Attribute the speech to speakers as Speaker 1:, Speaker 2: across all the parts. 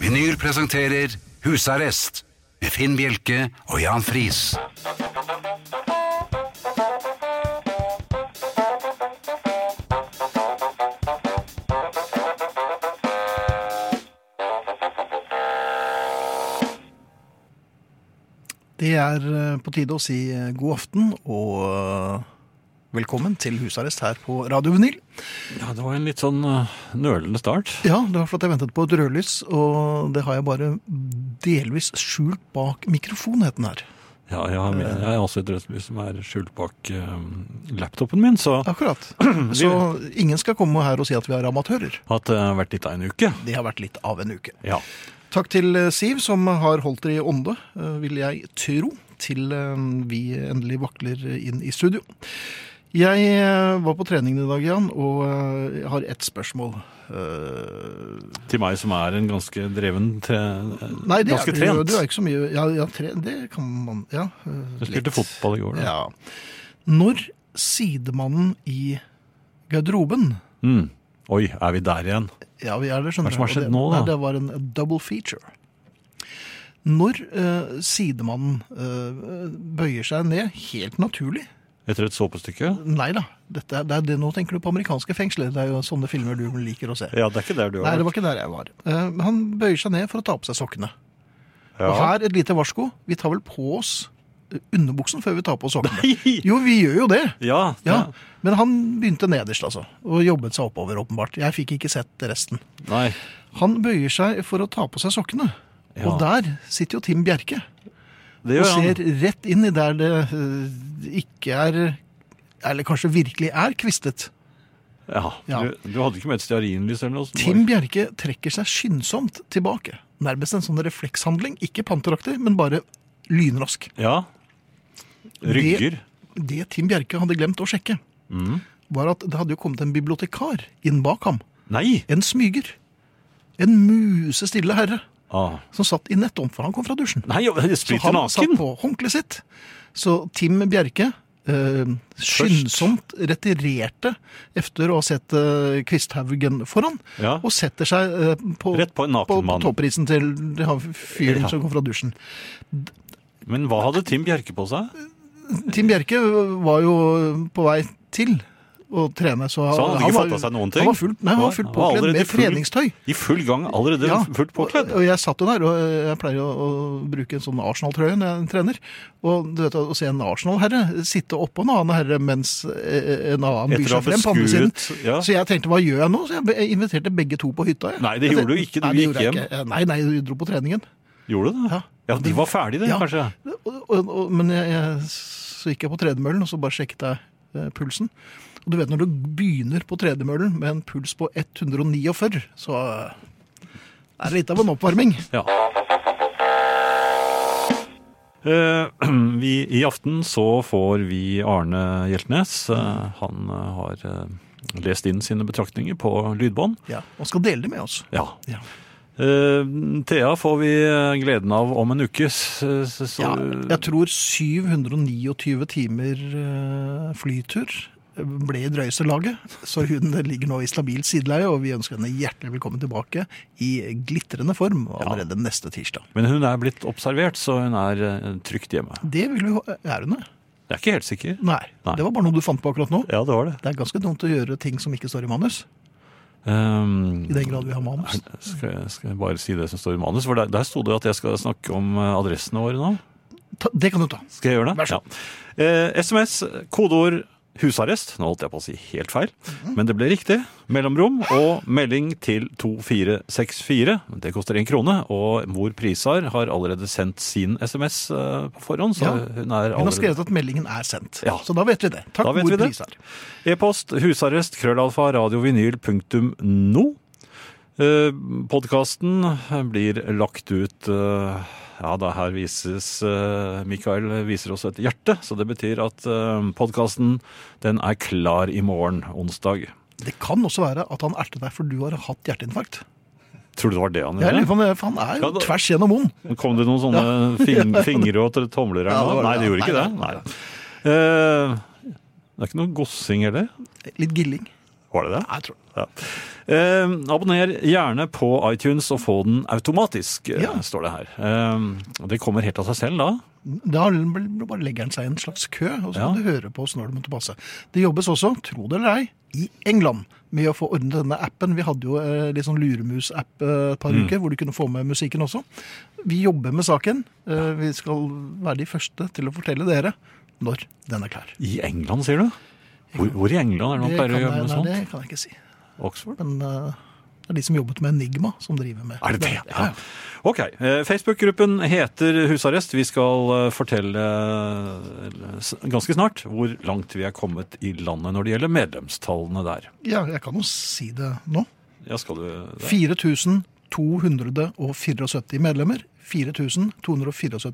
Speaker 1: Vinyl presenterer Husarrest med Finn Bjelke og Jan Friis.
Speaker 2: Det er eh, på tide å si eh, god aften og eh, velkommen til husarrest her på Radio Vinyl.
Speaker 3: Ja, det var en litt sånn øh, nølende start.
Speaker 2: Ja, det var for at jeg ventet på et rødlys, og det har jeg bare delvis skjult bak mikrofonheten her.
Speaker 3: Ja, jeg har, jeg har også et rødt lys som er skjult bak øh, laptopen min, så
Speaker 2: Akkurat. Så ingen skal komme her og si at vi er amatører.
Speaker 3: at det har vært litt av en uke.
Speaker 2: Det har vært litt av en uke.
Speaker 3: Ja.
Speaker 2: Takk til eh, Siv, som har holdt dere i ånde, eh, vil jeg tro, til eh, vi endelig vakler inn i studio. Jeg eh, var på treningen i dag, Jan, og eh, jeg har ett spørsmål. Eh,
Speaker 3: Til meg som er en ganske dreven tre, øh,
Speaker 2: Nei, det
Speaker 3: Ganske
Speaker 2: er, du jo-
Speaker 3: trent.
Speaker 2: Du er ikke så mye ja, ja, tre, Det kan man Ja. øh,
Speaker 3: Jeg
Speaker 2: litt.
Speaker 3: spilte fotball i går. Da.
Speaker 2: Ja. Når sidemannen i garderoben
Speaker 3: Mm. Oi, er vi der igjen?
Speaker 2: Ja, vi er der, skjønner
Speaker 3: Hva er det som har
Speaker 2: du, og
Speaker 3: skjedd
Speaker 2: det,
Speaker 3: nå, da?
Speaker 2: Nei, det var en double feature. Når eh, sidemannen eh, bøyer seg ned, helt naturlig
Speaker 3: Etter et såpestykke?
Speaker 2: Nei da, dette, er- det er det, nå tenker du på amerikanske fengsler. Det er jo sånne filmer du liker å se.
Speaker 3: Ja, det er ikke der du
Speaker 2: Nei,
Speaker 3: har
Speaker 2: det var ikke der jeg var. Eh, men han bøyer seg ned for å ta på seg sokkene.
Speaker 3: Ja.
Speaker 2: Og her et lite varsko. Vi tar vel på oss eh, underbuksen før vi tar på oss sokkene. Jo, vi gjør jo det.
Speaker 3: Ja,
Speaker 2: Ja. Men han begynte nederst, altså. Og jobbet seg oppover, åpenbart. Jeg fikk ikke sett resten.
Speaker 3: Nei.
Speaker 2: Han bøyer seg for å ta på seg sokkene.
Speaker 3: Ja.
Speaker 2: Og der sitter jo Tim Bjerke og
Speaker 3: Det gjør
Speaker 2: ser
Speaker 3: han.
Speaker 2: rett inn i der det eh, ikke er Eller kanskje virkelig er kvistet.
Speaker 3: Ja.
Speaker 2: Ja.
Speaker 3: Du, du hadde ikke med et stearinlys eller noe? som
Speaker 2: Tim Bjerke trekker seg skyndsomt tilbake. Nærmest en sånn reflekshandling. Ikke panteraktig, men bare lynrask.
Speaker 3: var- Ja. Rygger. Mm.
Speaker 2: Det Tim Bjerke hadde glemt å sjekke, var at det hadde jo kommet en bibliotekar inn bak ham.
Speaker 3: Nei!
Speaker 2: En smyger. En musestille herre
Speaker 3: Ah.
Speaker 2: som satt i nettomfor. Han kom fra dusjen.
Speaker 3: Nei, jo, jeg
Speaker 2: Så
Speaker 3: splitter
Speaker 2: han satt
Speaker 3: naken!
Speaker 2: på håndkleet sitt. Så Tim Bjerke eh, skyndsomt retirerte etter å ha sett eh, Kvisthaugen foran,
Speaker 3: Ja.
Speaker 2: og setter seg eh, på,
Speaker 3: Rett på en naken
Speaker 2: på,
Speaker 3: mann.
Speaker 2: topprisen til det han fyren
Speaker 3: Ja.
Speaker 2: som kom fra dusjen.
Speaker 3: Men hva hadde Tim Bjerke på seg?
Speaker 2: Tim Bjerke var jo på vei til å trene, så,
Speaker 3: Så han hadde ikke
Speaker 2: var-
Speaker 3: fatta seg noen ting?
Speaker 2: Han var fullt, nei, han var fullt
Speaker 3: Han var
Speaker 2: påkledd
Speaker 3: allerede
Speaker 2: med
Speaker 3: full-
Speaker 2: treningstøy.
Speaker 3: I full gang allerede
Speaker 2: Ja,
Speaker 3: fullt påkledd?
Speaker 2: Og, og jeg satt jo der, og jeg pleier å, å bruke en sånn Arsenal-trøye når jeg trener. Og du vet, å se en Arsenal-herre sitte oppå en annen herre mens eh, en annen byr
Speaker 3: Etter å ha
Speaker 2: seg frem på andre siden.
Speaker 3: beskuet ja.
Speaker 2: Så jeg tenkte, hva gjør jeg nå? Så jeg be- inviterte begge to på hytta. Jeg.
Speaker 3: Nei, det gjorde du ikke. Du
Speaker 2: Nei, det
Speaker 3: gikk
Speaker 2: gjorde jeg
Speaker 3: hjem.
Speaker 2: ikke. Nei, nei, du dro på treningen.
Speaker 3: Gjorde du det?
Speaker 2: Ja.
Speaker 3: Ja. De var ferdige, det,
Speaker 2: Ja.
Speaker 3: kanskje?
Speaker 2: Og, og, og, men jeg, jeg, så gikk jeg på tredemøllen, og så bare sjekket jeg eh, pulsen. Og du vet, når du begynner på tredemøllen med en puls på 149, så eh, er det litt av en oppvarming.
Speaker 3: Ja. Eh, vi, I aften så får vi Arne Hjeltnes. Eh, han eh, har eh, lest inn sine betraktninger på lydbånd.
Speaker 2: Ja, og skal dele det med oss.
Speaker 3: Ja.
Speaker 2: Ja.
Speaker 3: Eh, Thea får vi eh, gleden av om en uke. s- s- Så,
Speaker 2: Ja, jeg tror 729 timer eh, flytur ble i drøyeste laget, så hun ligger nå i stabil sideleie, og vi ønsker henne hjertelig velkommen tilbake i glitrende form allerede neste tirsdag.
Speaker 3: Men hun er blitt observert, så hun er eh, trygt hjemme.
Speaker 2: Det vil vi ha. Er hun det?
Speaker 3: Jeg er ikke helt sikker.
Speaker 2: Nei,
Speaker 3: Nei.
Speaker 2: det var bare noe du fant på akkurat nå.
Speaker 3: Ja, det var det.
Speaker 2: Det er ganske dumt å gjøre ting som ikke står i manus,
Speaker 3: Um,
Speaker 2: i den grad vi har manus.
Speaker 3: Skal jeg, skal jeg bare si det som står i manus? For der, der sto det at jeg skal snakke om eh, adressene våre nå.
Speaker 2: Ta, det kan du ta.
Speaker 3: Skal jeg gjøre det?
Speaker 2: Vær så
Speaker 3: Ja. Eh, SMS, kodeord husarrest. Nå holdt jeg på å si helt feil,
Speaker 2: Mhm.
Speaker 3: men det ble riktig. Mellomrom og melding til 2464. Det koster én krone. Og mor Prisar har allerede sendt sin SMS eh, på forhånd, så
Speaker 2: Ja.
Speaker 3: hun er
Speaker 2: Hun har
Speaker 3: allerede
Speaker 2: skrevet at meldingen er sendt,
Speaker 3: Ja.
Speaker 2: så da vet vi det. Takk,
Speaker 3: Da vet
Speaker 2: Mor
Speaker 3: vi det.
Speaker 2: Prisar.
Speaker 3: E-post husarrest krøllalfa radiovinyl.no. Eh, Podkasten blir lagt ut eh, Ja, da her vises eh, Mikael viser oss et hjerte, så det betyr at podkasten den er klar i morgen, onsdag.
Speaker 2: Det kan også være at han erte deg, for du har hatt hjerteinfarkt.
Speaker 3: Tror du det var det han
Speaker 2: Jeg lurer
Speaker 3: gjorde?
Speaker 2: på om det, for han er
Speaker 3: Ja, da-
Speaker 2: tvers gjennom vond.
Speaker 3: Kom det noen sånne fing fingre og tomler her
Speaker 2: Ja, det
Speaker 3: nå?
Speaker 2: var det,
Speaker 3: Nei, det
Speaker 2: ja.
Speaker 3: gjorde ikke det.
Speaker 2: Nei,
Speaker 3: Nei. Eh, Det er ikke noe gossing heller?
Speaker 2: Litt gilling.
Speaker 3: Var det det?
Speaker 2: Nei, jeg tror
Speaker 3: Ja. Eh, abonner gjerne på iTunes og få den automatisk, eh,
Speaker 2: Ja.
Speaker 3: står det her. Eh, og det kommer helt av seg selv da.
Speaker 2: Da bl- bare legger han seg i en slags kø, og så
Speaker 3: Ja.
Speaker 2: kan du høre på oss når det måtte passe. Det jobbes også, tro det eller ei, i England med å få ordnet denne appen. Vi hadde jo eh, litt sånn luremus-app eh, et par
Speaker 3: Mm.
Speaker 2: uker, hvor du kunne få med musikken også. Vi jobber med saken. Eh, Vi skal være de første til å fortelle dere når den er klar.
Speaker 3: I England, sier du? Hvor, hvor i England er det man
Speaker 2: kan,
Speaker 3: pleier å
Speaker 2: jeg,
Speaker 3: gjøre noe
Speaker 2: nei, det
Speaker 3: sånt?
Speaker 2: kan jeg ikke si.
Speaker 3: Oxford?
Speaker 2: Men eh, det er de som jobbet med Enigma, som driver med
Speaker 3: Er det det?
Speaker 2: Ja, ja.
Speaker 3: Ok. eh, Facebook-gruppen heter Husarrest. Vi skal eh, fortelle eh, s- ganske snart hvor langt vi er kommet i landet når det gjelder medlemstallene der.
Speaker 2: ja, jeg kan jo si det nå.
Speaker 3: Ja, skal du det?
Speaker 2: 4274 medlemmer. 4274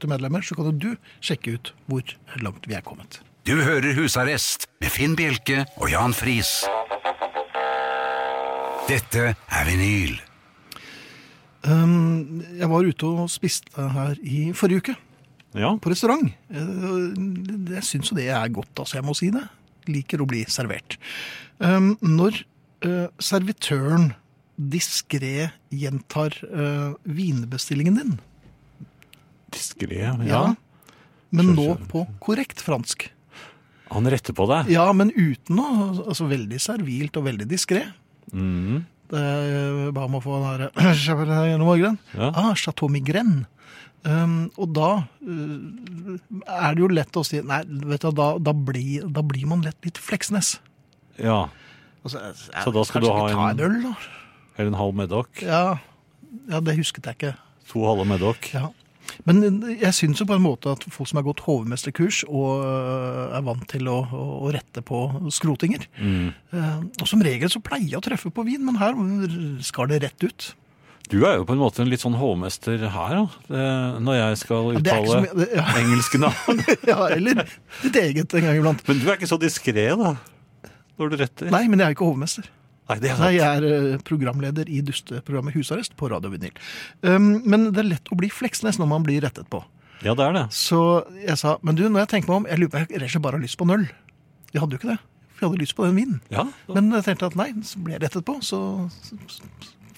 Speaker 2: medlemmer, så kan jo du sjekke ut hvor langt vi er kommet.
Speaker 1: Du hører Husarrest med Finn Bjelke og Jan Friis. Dette er vinyl.
Speaker 2: Um, jeg var ute og spiste her i forrige uke,
Speaker 3: Ja.
Speaker 2: på restaurant. Eh, Jeg syns jo det er godt, altså. Jeg må si det. Liker å bli servert. Um, når eh, servitøren diskré gjentar eh, vinbestillingen din,
Speaker 3: Diskré. Ja.
Speaker 2: men
Speaker 3: Skjønner,
Speaker 2: nå
Speaker 3: skjønner.
Speaker 2: på korrekt fransk
Speaker 3: Han retter på deg.
Speaker 2: Ja, men uten noe. Altså veldig servilt og veldig diskré.
Speaker 3: Mm.
Speaker 2: Det er bare om å få den her Chateau Migraine.
Speaker 3: Ja.
Speaker 2: Ah, Chateau Migraine. Um, og da uh, er det jo lett å si Nei, vet du, da, da, blir, da blir man lett litt Fleksnes.
Speaker 3: ja.
Speaker 2: Altså, er,
Speaker 3: Så da
Speaker 2: kanskje
Speaker 3: skal du ha
Speaker 2: ikke ta
Speaker 3: en-
Speaker 2: en øl, da?
Speaker 3: Eller en halv meddokk.
Speaker 2: Ja, ja, det husket jeg ikke.
Speaker 3: To halve meddokk.
Speaker 2: Ja. Men eh, jeg syns jo på en måte at folk som har gått hovmesterkurs og øh, er vant til å, å- å rette på skrotinger Eh, Og som regel så pleier jeg å treffe på vin, men her skal det rett ut.
Speaker 3: Du er jo på en måte en litt sånn hovmester her, da. Det- Når jeg skal
Speaker 2: Det er
Speaker 3: uttale
Speaker 2: ikke så mye ja,
Speaker 3: engelske navn.
Speaker 2: ja, Eller ditt eget en gang iblant.
Speaker 3: Men du er ikke så diskré, da. Når du retter.
Speaker 2: Nei, men jeg er jo ikke hovmester.
Speaker 3: Nei, det er sant.
Speaker 2: Nei, jeg er eh, programleder i dusteprogrammet Husarrest på Radio Vinyl. Um, men det er lett å bli fleksnes når man blir rettet på.
Speaker 3: Ja, det er det.
Speaker 2: Så jeg sa Men du, når jeg tenker meg om, jeg lurer på jeg rett og slett bare har lyst på en øl. Jeg hadde jo ikke det. For jeg hadde lyst på den vinen.
Speaker 3: Ja,
Speaker 2: Men jeg tenkte at nei, så ble jeg rettet på, så så- så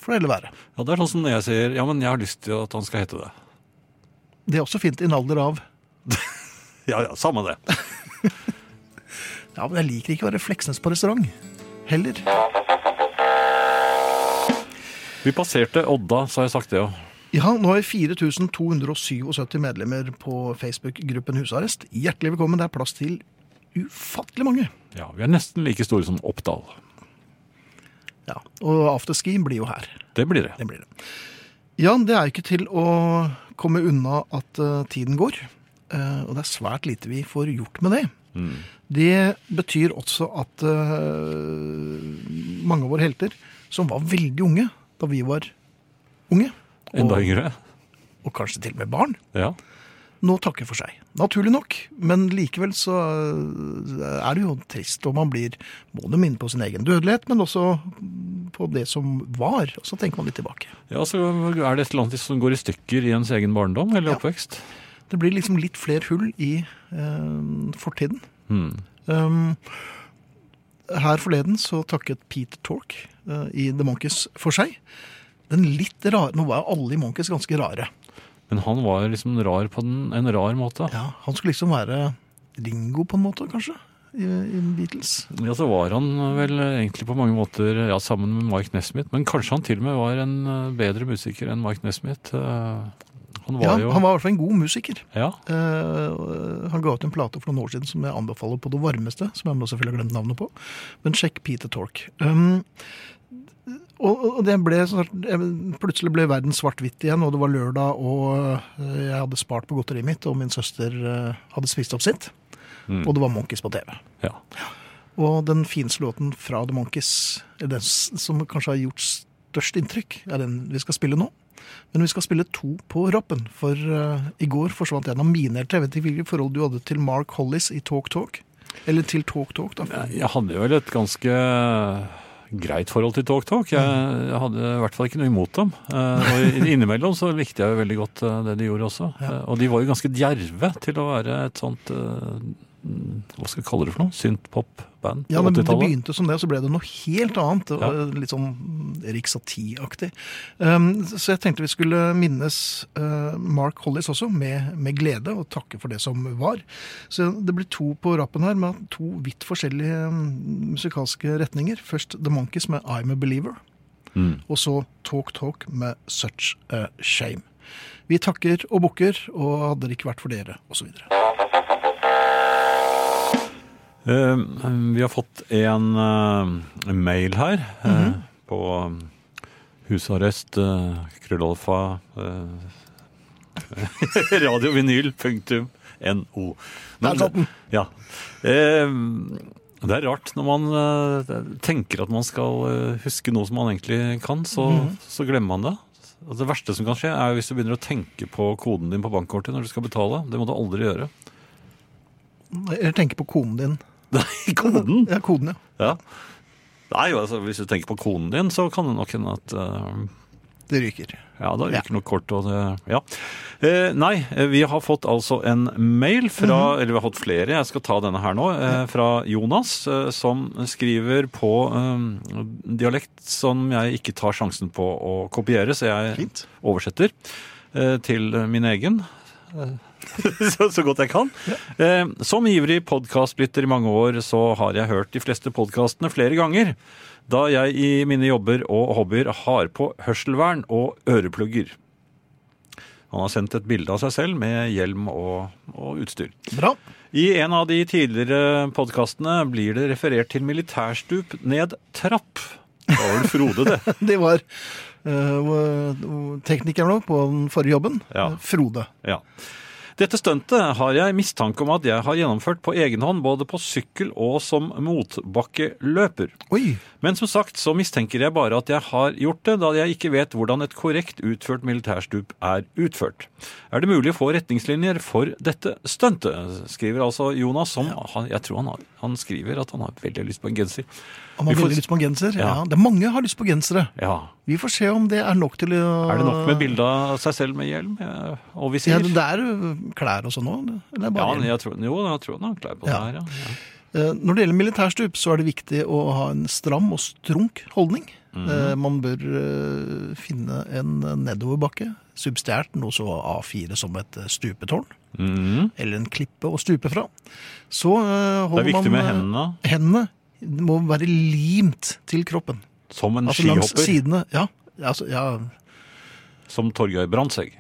Speaker 2: får det heller være.
Speaker 3: ja det er sånn som når jeg sier Ja, men jeg har lyst til at han skal hete det.
Speaker 2: Det er også fint i en alder av
Speaker 3: Ja, ja, samme det.
Speaker 2: Ja, men jeg liker ikke å være Fleksnes på restaurant. Heller.
Speaker 3: Vi passerte Odda, så har jeg sagt det òg.
Speaker 2: Ja, nå har vi 4277 medlemmer på Facebook-gruppen Husarrest. Hjertelig velkommen. Det er plass til ufattelig mange.
Speaker 3: Ja, vi er nesten like store som Oppdal.
Speaker 2: Ja, Og afterski blir jo her.
Speaker 3: Det blir det.
Speaker 2: Det blir det. Jan, det er ikke til å komme unna at eh, tiden går. eh, og det er svært lite vi får gjort med det. Det betyr også at eh, mange av våre helter, som var veldig unge da vi var unge,
Speaker 3: Enda
Speaker 2: og,
Speaker 3: yngre.
Speaker 2: og kanskje til og med barn,
Speaker 3: Ja.
Speaker 2: nå takker for seg. Naturlig nok, men likevel så eh, er det jo trist om man blir både minnet på sin egen dødelighet, men også på det som var. Og så tenker man litt tilbake.
Speaker 3: ja, så er det et eller annet som går i stykker i ens egen barndom eller
Speaker 2: Ja.
Speaker 3: oppvekst.
Speaker 2: Det blir liksom litt flere hull i eh, fortiden.
Speaker 3: Hmm.
Speaker 2: Um, her forleden så takket Pete Tork eh, i The Monkees for seg. Den litt rare, Nå var alle i Monkees ganske rare.
Speaker 3: Men han var liksom rar på den, en rar måte.
Speaker 2: Ja, han skulle liksom være Ringo på en måte, kanskje, i, i Beatles.
Speaker 3: Ja, så var han vel egentlig på mange måter ja, sammen med Mike Nesmith, men kanskje han til og med var en eh, bedre musiker enn Mike Nesmith. Eh, Han
Speaker 2: Ja,
Speaker 3: var jo
Speaker 2: han var i hvert fall en god musiker.
Speaker 3: Ja,
Speaker 2: Eh, og Eh, han ga ut en plate for noen år siden som jeg anbefaler på det varmeste, som jeg må selvfølgelig ha glemt navnet på. Men sjekk Peter Tork. Um, og, og det ble sånn at- jeg- Plutselig ble verden svart-hvitt igjen, og det var lørdag, og eh, jeg hadde spart på godteriet mitt, og min søster eh, hadde spist opp sitt. Og det var Monkeys på TV.
Speaker 3: ja.
Speaker 2: Og den fineste låten fra The Monkeys, den s- som kanskje har gjort størst inntrykk, er den vi skal spille nå. Men vi skal spille to på rappen, for eh, i går forsvant en av mine helter. Jeg vet ikke hvilke forhold du hadde til Mark Hollis i Talk Talk. Eller til Talk Talk, da.
Speaker 3: Jeg hadde vel et ganske greit forhold til Talk Talk. Jeg,
Speaker 2: Mm.
Speaker 3: jeg hadde i hvert fall ikke noe imot dem. Eh, Og i- innimellom så likte jeg jo veldig godt eh, det de gjorde også. Eh, Og de var jo ganske djerve til å være et sånt eh, hva skal jeg kalle det for noe? Synth-pop-band på
Speaker 2: Ja, men Det
Speaker 3: 80-tallet?
Speaker 2: begynte som det, og så ble det noe helt annet. Det var Litt sånn Riksatie-aktig. Um, så jeg tenkte vi skulle minnes uh, Mark Hollis også, med, med glede, og takke for det som var. Så det blir to på rappen her, med to vidt forskjellige um, musikalske retninger. Først The Monkees med I'm a Believer,
Speaker 3: Mm.
Speaker 2: og så Talk Talk med Such a Shame. Vi takker og bukker, og hadde det ikke vært for dere, osv.
Speaker 3: Eh, Vi har fått en eh, mail her eh,
Speaker 2: Mhm.
Speaker 3: på um, husarrest eh, krøllalfa eh, radiovinyl.no.
Speaker 2: Der satt den.
Speaker 3: Ja. Eh, det er rart når man eh, tenker at man skal eh, huske noe som man egentlig kan, så,
Speaker 2: Mhm.
Speaker 3: så glemmer man det. Og det verste som kan skje, er hvis du begynner å tenke på koden din på bankkortet når du skal betale. Det må du aldri gjøre.
Speaker 2: Eller tenke på konen din.
Speaker 3: Nei, koden!
Speaker 2: Ja, koden, ja.
Speaker 3: Ja. Nei, altså, hvis du tenker på konen din, så kan det nok hende at eh,
Speaker 2: Det ryker.
Speaker 3: Ja, da ryker noe kort. Og det, ja. Eh, nei, eh, vi har fått altså en mail fra Eller vi har fått flere, jeg skal ta denne her nå. Eh, fra Jonas, eh, som skriver på eh, dialekt som jeg ikke tar sjansen på å kopiere, så jeg
Speaker 2: Fint.
Speaker 3: oversetter eh, til min egen. så, så godt jeg kan. Eh, som ivrig podkastlytter i mange år, så har jeg hørt de fleste podkastene flere ganger. Da jeg i mine jobber og hobbyer har på hørselvern og øreplugger. Han har sendt et bilde av seg selv med hjelm og, og utstyr.
Speaker 2: Bra.
Speaker 3: I en av de tidligere podkastene blir det referert til militærstup ned trapp. Da var vel Frode, det.
Speaker 2: Det var uh, teknikeren nå på den forrige jobben.
Speaker 3: Ja.
Speaker 2: Frode.
Speaker 3: Ja. Dette stuntet har jeg mistanke om at jeg har gjennomført på egen hånd, både på sykkel og som motbakkeløper.
Speaker 2: Oi!
Speaker 3: Men som sagt så mistenker jeg bare at jeg har gjort det, da jeg ikke vet hvordan et korrekt utført militærstup er utført. Er det mulig å få retningslinjer for dette stuntet? Skriver altså Jonas, som han, jeg tror han, har, han skriver at han har veldig lyst på en genser.
Speaker 2: Han har
Speaker 3: Vi får-
Speaker 2: veldig lyst på en genser. Ja.
Speaker 3: Ja.
Speaker 2: det er mange har lyst på gensere.
Speaker 3: Ja.
Speaker 2: Vi får se om det er nok til å
Speaker 3: Er det nok med bilde av seg selv med hjelm eh, og
Speaker 2: Ja,
Speaker 3: visir?
Speaker 2: det er øh, klær og sånn òg. Eller
Speaker 3: Ja,
Speaker 2: bare hjelm.
Speaker 3: jeg tror, jo, jeg tror han har klær på
Speaker 2: Ja.
Speaker 3: det her, ja.
Speaker 2: Eh, Når det gjelder militærstup, så er det viktig å ha en stram og strunk holdning.
Speaker 3: Mhm.
Speaker 2: Eh, Man bør eh, finne en nedoverbakke, substjært noe så A4 som et eh, stupetårn.
Speaker 3: Mhm.
Speaker 2: Eller en klippe å stupe fra. Så eh,
Speaker 3: Det er
Speaker 2: holder man
Speaker 3: viktig med
Speaker 2: eh,
Speaker 3: hendene.
Speaker 2: Hendene må være limt til kroppen.
Speaker 3: Som en
Speaker 2: Altså langs
Speaker 3: skihopper.
Speaker 2: sidene. Ja. Altså, ja.
Speaker 3: Som Torgeir Brandtzæg.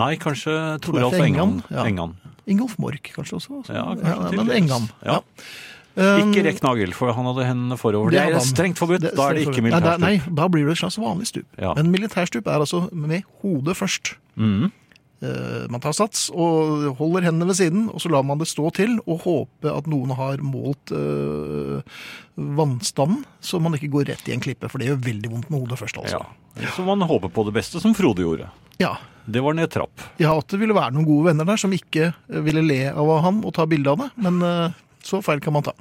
Speaker 3: Nei, kanskje
Speaker 2: Toralf
Speaker 3: Toralf Engan.
Speaker 2: Engan, ja.
Speaker 3: Engan.
Speaker 2: Ingolf Mork kanskje også. altså.
Speaker 3: Ja, kanskje
Speaker 2: men
Speaker 3: til.
Speaker 2: Engan.
Speaker 3: Ja.
Speaker 2: Um,
Speaker 3: Ikke rekk nagel, for han hadde hendene forover.
Speaker 2: det
Speaker 3: Det
Speaker 2: hadde
Speaker 3: er
Speaker 2: han.
Speaker 3: strengt forbudt. Da er det ikke
Speaker 2: Nei, da-
Speaker 3: militærstup.
Speaker 2: Nei, da blir det et slags vanlig stup.
Speaker 3: Ja.
Speaker 2: Men militærstup er altså med hodet først.
Speaker 3: Mhm.
Speaker 2: Eh, Man tar sats og holder hendene ved siden, og så lar man det stå til og håpe at noen har målt eh, vannstanden, så man ikke går rett i en klippe, for det gjør veldig vondt med hodet først. altså.
Speaker 3: Ja. Så man håper på det beste, som Frode gjorde.
Speaker 2: Ja.
Speaker 3: Det var ned trapp.
Speaker 2: ja, at det ville være noen gode venner der som ikke eh, ville le av han og ta bilde av det, men eh, så feil kan man ta.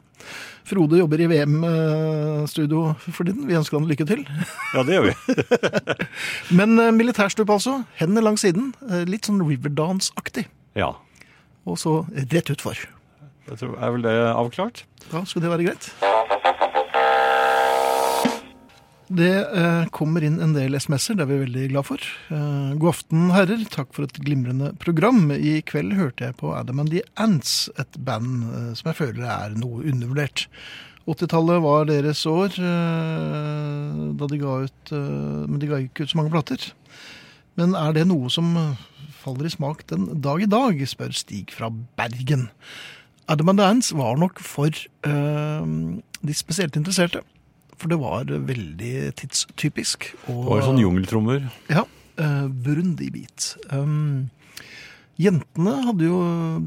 Speaker 2: Frode jobber i VM-studio for tiden. Vi ønsker han lykke til.
Speaker 3: Ja, det gjør vi.
Speaker 2: Men eh, militærstup, altså. Hendene langs siden. eh, Litt sånn Riverdance-aktig.
Speaker 3: Ja.
Speaker 2: Og så rett utfor.
Speaker 3: Jeg tror, er vel det avklart?
Speaker 2: Da skulle det være greit. Det eh, kommer inn en del SMS-er, det er vi veldig glad for. Eh, God aften, herrer. Takk for et glimrende program. I kveld hørte jeg på Adam and the Ants, et band eh, som jeg føler er noe undervurdert. 80-tallet var deres år, eh, da de ga ut eh, Men de ga ikke ut så mange plater. Men er det noe som eh, faller i smak den dag i dag, spør Stig fra Bergen. Adam and the Ants var nok for eh, de spesielt interesserte. For det var veldig tidstypisk. Og,
Speaker 3: Det var sånn jungeltrommer.
Speaker 2: Ja. eh, Burundi-beat. Um, jentene hadde jo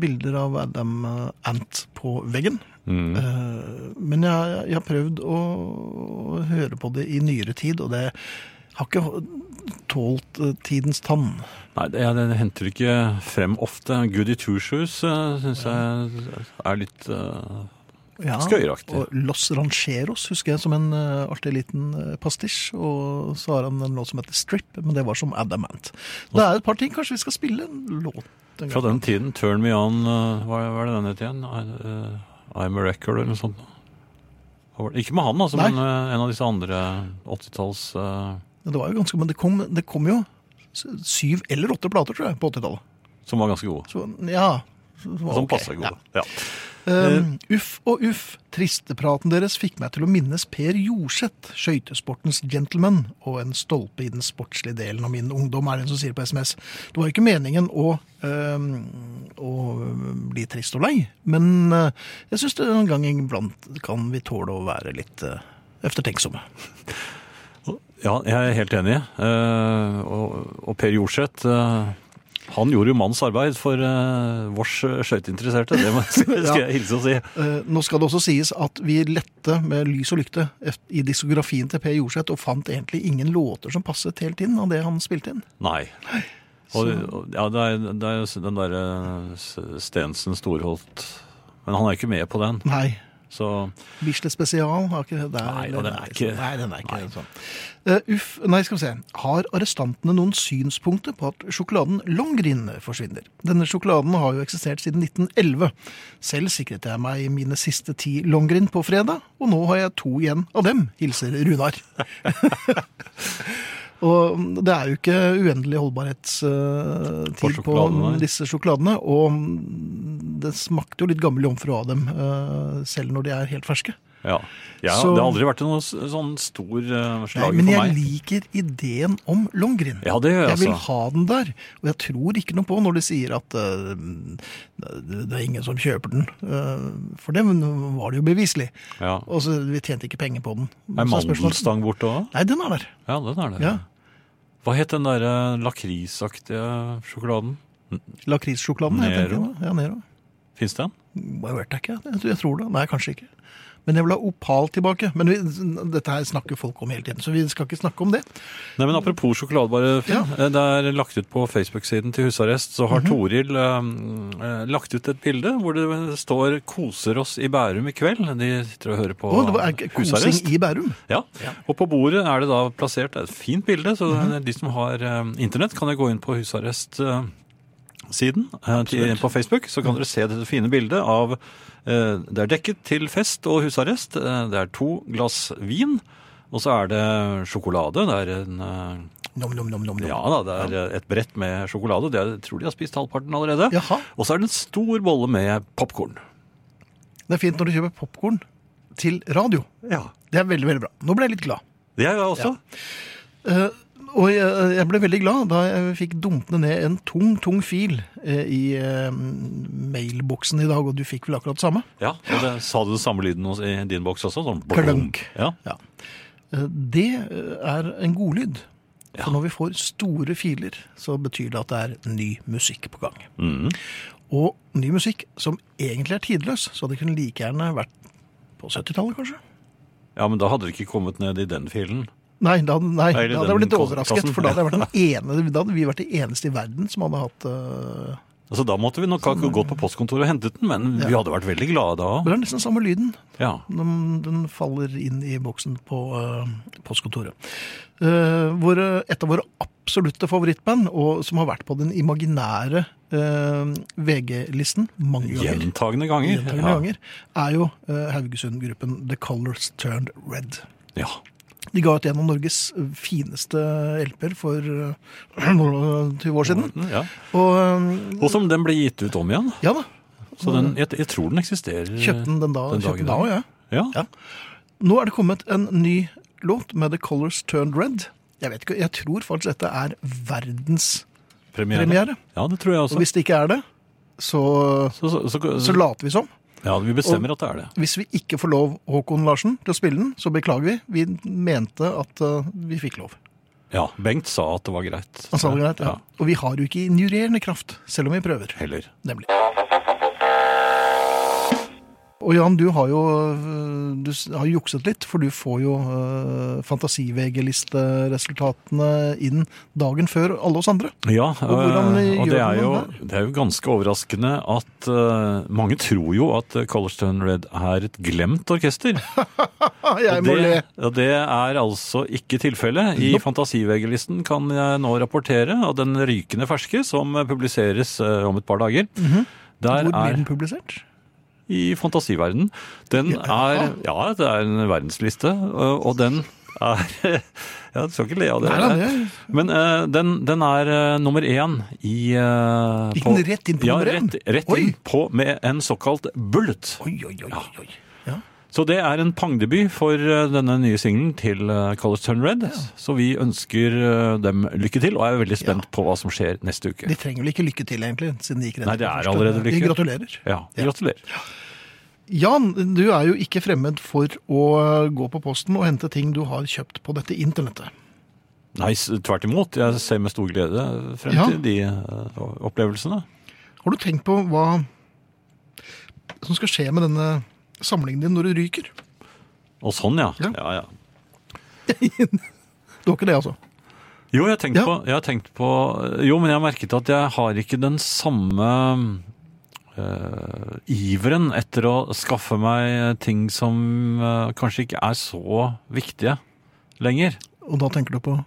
Speaker 2: bilder av Adam eh, Ant på veggen.
Speaker 3: Mhm.
Speaker 2: Eh, Men jeg, jeg har prøvd å høre på det i nyere tid, og det har ikke tålt eh, tidens tann.
Speaker 3: Nei, det, jeg, det henter ikke frem ofte. Goody Two Shoes syns jeg er litt eh,
Speaker 2: Ja,
Speaker 3: Skøyeraktig.
Speaker 2: Og Los Rancheros husker jeg som en eh, artig liten eh, pastisj. Og så har han en låt som heter Strip, men det var som Adamant. Det er et par ting. Kanskje vi skal spille en låt en
Speaker 3: Fra
Speaker 2: gang?
Speaker 3: den tiden, Turn Me On, eh, hva hva er det den het igjen? I- eh, I'm a Record eller noe sånt. Hva var det? Ikke med han, altså,
Speaker 2: Nei.
Speaker 3: men eh, en av disse andre 80-talls... eh,
Speaker 2: Det var jo ganske, men det kom, det kom jo s- syv eller åtte plater, tror jeg, på 80-tallet.
Speaker 3: som var ganske god.
Speaker 2: Så ja. Som
Speaker 3: Som passet god. Ja.
Speaker 2: Um, uff og uff, tristepraten deres fikk meg til å minnes Per Jorseth, skøytesportens gentleman, og en stolpe i den sportslige delen av min ungdom, er det en som sier på SMS. Det var jo ikke meningen å, um, å bli trist og lei, men uh, jeg syns en gang iblant kan vi tåle å være litt uh, eftertenksomme.
Speaker 3: Ja, jeg er helt enig. Eh, og, og Per Jorseth eh, han gjorde jo mannens arbeid for eh, vårs skøyteinteresserte. Det må- skal jeg hilse og si.
Speaker 2: Eh, Nå skal det også sies at vi lette med lys og lykte eft- i diskografien til Per Jorseth, og fant egentlig ingen låter som passet helt inn av det han spilte inn.
Speaker 3: Nei. Og, og- ja, det er, det er jo den derre eh, Stensen Storholt Men han er ikke med på den.
Speaker 2: Nei.
Speaker 3: Så
Speaker 2: Bislett Spesial har ikke det
Speaker 3: Nei, og den er ikke-
Speaker 2: Nei, den er ikke sånn. Eh, uff, nei, skal vi se. Har arrestantene noen synspunkter på at sjokoladen Longrin forsvinner? Denne sjokoladen har jo eksistert siden 1911. Selv sikret jeg meg mine siste ti Longrin på fredag, og nå har jeg to igjen av dem, hilser Runar. og det er jo ikke uendelig
Speaker 3: På
Speaker 2: holdbarhetstid på,
Speaker 3: sjokoladene, nei.
Speaker 2: disse sjokoladene, og det smakte jo litt gammel jomfru av dem, eh, selv når de er helt ferske.
Speaker 3: ja. ja
Speaker 2: Så-
Speaker 3: det har aldri vært noe s- sånn stor eh,
Speaker 2: Nei,
Speaker 3: slager
Speaker 2: men
Speaker 3: for
Speaker 2: jeg
Speaker 3: meg.
Speaker 2: liker ideen om Longrin.
Speaker 3: Ja, det gjør jeg,
Speaker 2: jeg vil
Speaker 3: altså.
Speaker 2: ha den der, og jeg tror ikke noe på når de sier at eh, det det er ingen som kjøper den. Eh, for det var det jo beviselig.
Speaker 3: Ja.
Speaker 2: Og så vi tjente ikke penger på den.
Speaker 3: Er
Speaker 2: Så spørsmålet-
Speaker 3: mandelstang borte òg?
Speaker 2: Nei, den er der.
Speaker 3: Ja, den er det.
Speaker 2: Ja.
Speaker 3: Hva het den derre lakrisaktige sjokoladen?
Speaker 2: Lakrissjokoladen. jeg
Speaker 3: Nero.
Speaker 2: tenker. Ja, Nero.
Speaker 3: Fins den?
Speaker 2: Jeg vet ikke, jeg tror- jeg tror det. Nei, kanskje ikke. Men jeg vil ha opal tilbake. Men vi, dette her snakker folk om hele tiden, så vi skal ikke snakke om det.
Speaker 3: Nei, men Apropos sjokolade, bare. Finn. Eh, Det er lagt ut på Facebook-siden til husarrest. Så har
Speaker 2: Mhm.
Speaker 3: Toril eh, eh, lagt ut et bilde hvor det står 'Koser oss i Bærum i kveld'. De sitter og hører på
Speaker 2: Å, det var er ikke kosing
Speaker 3: husarrest.
Speaker 2: i Bærum.
Speaker 3: Ja. Og på bordet er det da plassert et fint bilde, så de som har eh, internett, kan jo gå inn på husarrest-siden eh, på Facebook. Så kan dere se dette fine bildet av eh, Det er dekket til fest og husarrest. Eh, Det er to glass vin. Og så er det sjokolade. Det er en eh,
Speaker 2: Nom, nom, nom, nom, nom.
Speaker 3: ja da, det er et brett med sjokolade. Det er, jeg tror de har spist halvparten allerede.
Speaker 2: Jaha.
Speaker 3: Og så er det en stor bolle med popkorn.
Speaker 2: Det er fint når du kjøper popkorn til radio.
Speaker 3: Ja.
Speaker 2: Det er veldig, veldig bra. Nå ble jeg litt glad.
Speaker 3: Det er jeg også.
Speaker 2: Eh, og jeg, jeg ble veldig glad da jeg fikk dumpende ned en tung, tung fil eh, i eh, mailboksen i dag, og du fikk vel akkurat samme?
Speaker 3: Ja, og det, Sa du den samme lyden hos- i din boks også? Sånn
Speaker 2: Klunk.
Speaker 3: Ja.
Speaker 2: Ja. Eh, det eh, er en godlyd.
Speaker 3: Ja.
Speaker 2: For når vi får store filer, så betyr det at det er ny musikk på gang.
Speaker 3: Mhm.
Speaker 2: Og ny musikk som egentlig er tidløs, så det kunne like gjerne vært på 70-tallet, kanskje?
Speaker 3: ja, men da hadde det ikke kommet ned i den filen.
Speaker 2: Nei, da, nei,
Speaker 3: Eller
Speaker 2: da hadde jeg blitt
Speaker 3: den
Speaker 2: overrasket,
Speaker 3: kassen.
Speaker 2: for da hadde, jeg vært den ene, da hadde vi vært de eneste i verden som hadde hatt øh,
Speaker 3: Altså, Da måtte vi nok
Speaker 2: Sånn
Speaker 3: ha gått på postkontoret og hentet den, men vi hadde vært veldig glade da
Speaker 2: men Det er nesten samme lyden.
Speaker 3: Ja.
Speaker 2: Den, den faller inn i boksen på øh, postkontoret. Eh, våre, et av våre absolutte favorittband, og som har vært på den imaginære øh, VG-listen mange ganger,
Speaker 3: Gjentagende ganger.
Speaker 2: gjentagende
Speaker 3: ja.
Speaker 2: ganger, er jo øh, Haugesund-gruppen The Colors Turned Red.
Speaker 3: Ja.
Speaker 2: De ga ut en av Norges fineste LP-er for øh, noen- 20 år siden.
Speaker 3: ja.
Speaker 2: Og øh,
Speaker 3: Og som den ble gitt ut om igjen.
Speaker 2: Ja da.
Speaker 3: Så den, jeg, jeg tror den eksisterer.
Speaker 2: Kjøpte den den da,
Speaker 3: Den
Speaker 2: kjøpte
Speaker 3: dagen
Speaker 2: den da ja.
Speaker 3: der. Ja.
Speaker 2: Ja. Nå er det kommet en ny låt med The Colors Turned Red. Jeg vet ikke, jeg tror faktisk dette er verdenspremiere.
Speaker 3: Premiere. Ja, det tror jeg også.
Speaker 2: Og hvis det ikke er det, så,
Speaker 3: Så, så, så,
Speaker 2: så later vi som.
Speaker 3: ja, vi bestemmer at det er det.
Speaker 2: Hvis vi ikke får lov, Håkon Larsen, til å spille den, så beklager vi. Vi mente at uh, vi fikk lov.
Speaker 3: Ja, Bengt sa at det var greit.
Speaker 2: Han sa det greit, ja. Og vi har jo ikke injurerende kraft, selv om vi prøver.
Speaker 3: Heller.
Speaker 2: Nemlig. Og Jan, du har jo øh, du s- har jo jukset litt, for du får jo øh, fantasi-VG-listeresultatene inn dagen før alle oss andre.
Speaker 3: Ja,
Speaker 2: hvordan
Speaker 3: eh,
Speaker 2: gjør
Speaker 3: og det
Speaker 2: man
Speaker 3: er, jo,
Speaker 2: det?
Speaker 3: det er jo ganske overraskende at eh, mange tror jo at eh, College Turn Red er et glemt orkester.
Speaker 2: Ah, jeg må le!
Speaker 3: det, og det er altså ikke tilfellet. I Fantasivegelisten kan jeg nå rapportere av den rykende ferske som publiseres eh, om et par dager. Der
Speaker 2: Mhm. Hvor blir
Speaker 3: er
Speaker 2: den publisert?
Speaker 3: i fantasiverdenen. Den er Ja, det er en verdensliste, øh, og og den er Ja, du skal ikke le av det.
Speaker 2: Nei, nei, det er-
Speaker 3: Men eh, den, den er eh, nummer én i eh,
Speaker 2: Gikk
Speaker 3: på-
Speaker 2: den rett inn på
Speaker 3: ja,
Speaker 2: nummer én?
Speaker 3: Rett, rett
Speaker 2: Oi.
Speaker 3: inn på med en såkalt bullet.
Speaker 2: Oi, oi, oi. oi. Ja.
Speaker 3: Så det er en pangdebut for eh, denne nye singelen til eh, Colors Turn Red. Så vi ønsker eh, dem lykke til, og er veldig spent på hva som skjer neste uke.
Speaker 2: De trenger vel ikke lykke til, egentlig, siden de gikk rett
Speaker 3: Nei,
Speaker 2: på
Speaker 3: det er
Speaker 2: første.
Speaker 3: allerede lykke.
Speaker 2: De gratulerer.
Speaker 3: Ja, gratulerer.
Speaker 2: Jan, du er jo ikke fremmed for å gå på posten og hente ting du har kjøpt på dette internettet.
Speaker 3: Nei, s- tvert imot. Jeg ser med stor glede frem
Speaker 2: Ja.
Speaker 3: til de eh, opplevelsene.
Speaker 2: Har du tenkt på hva som skal skje med denne samlingen din når du ryker?
Speaker 3: Og sånn, ja.
Speaker 2: Ja.
Speaker 3: ja, ja.
Speaker 2: Du har ikke det, altså?
Speaker 3: Jo, jeg har tenkt
Speaker 2: Ja.
Speaker 3: på, jeg har tenkt på Jo, men jeg har merket at jeg har ikke den samme eh, iveren etter å skaffe meg ting som eh, kanskje ikke er så viktige lenger.
Speaker 2: Og da tenker du på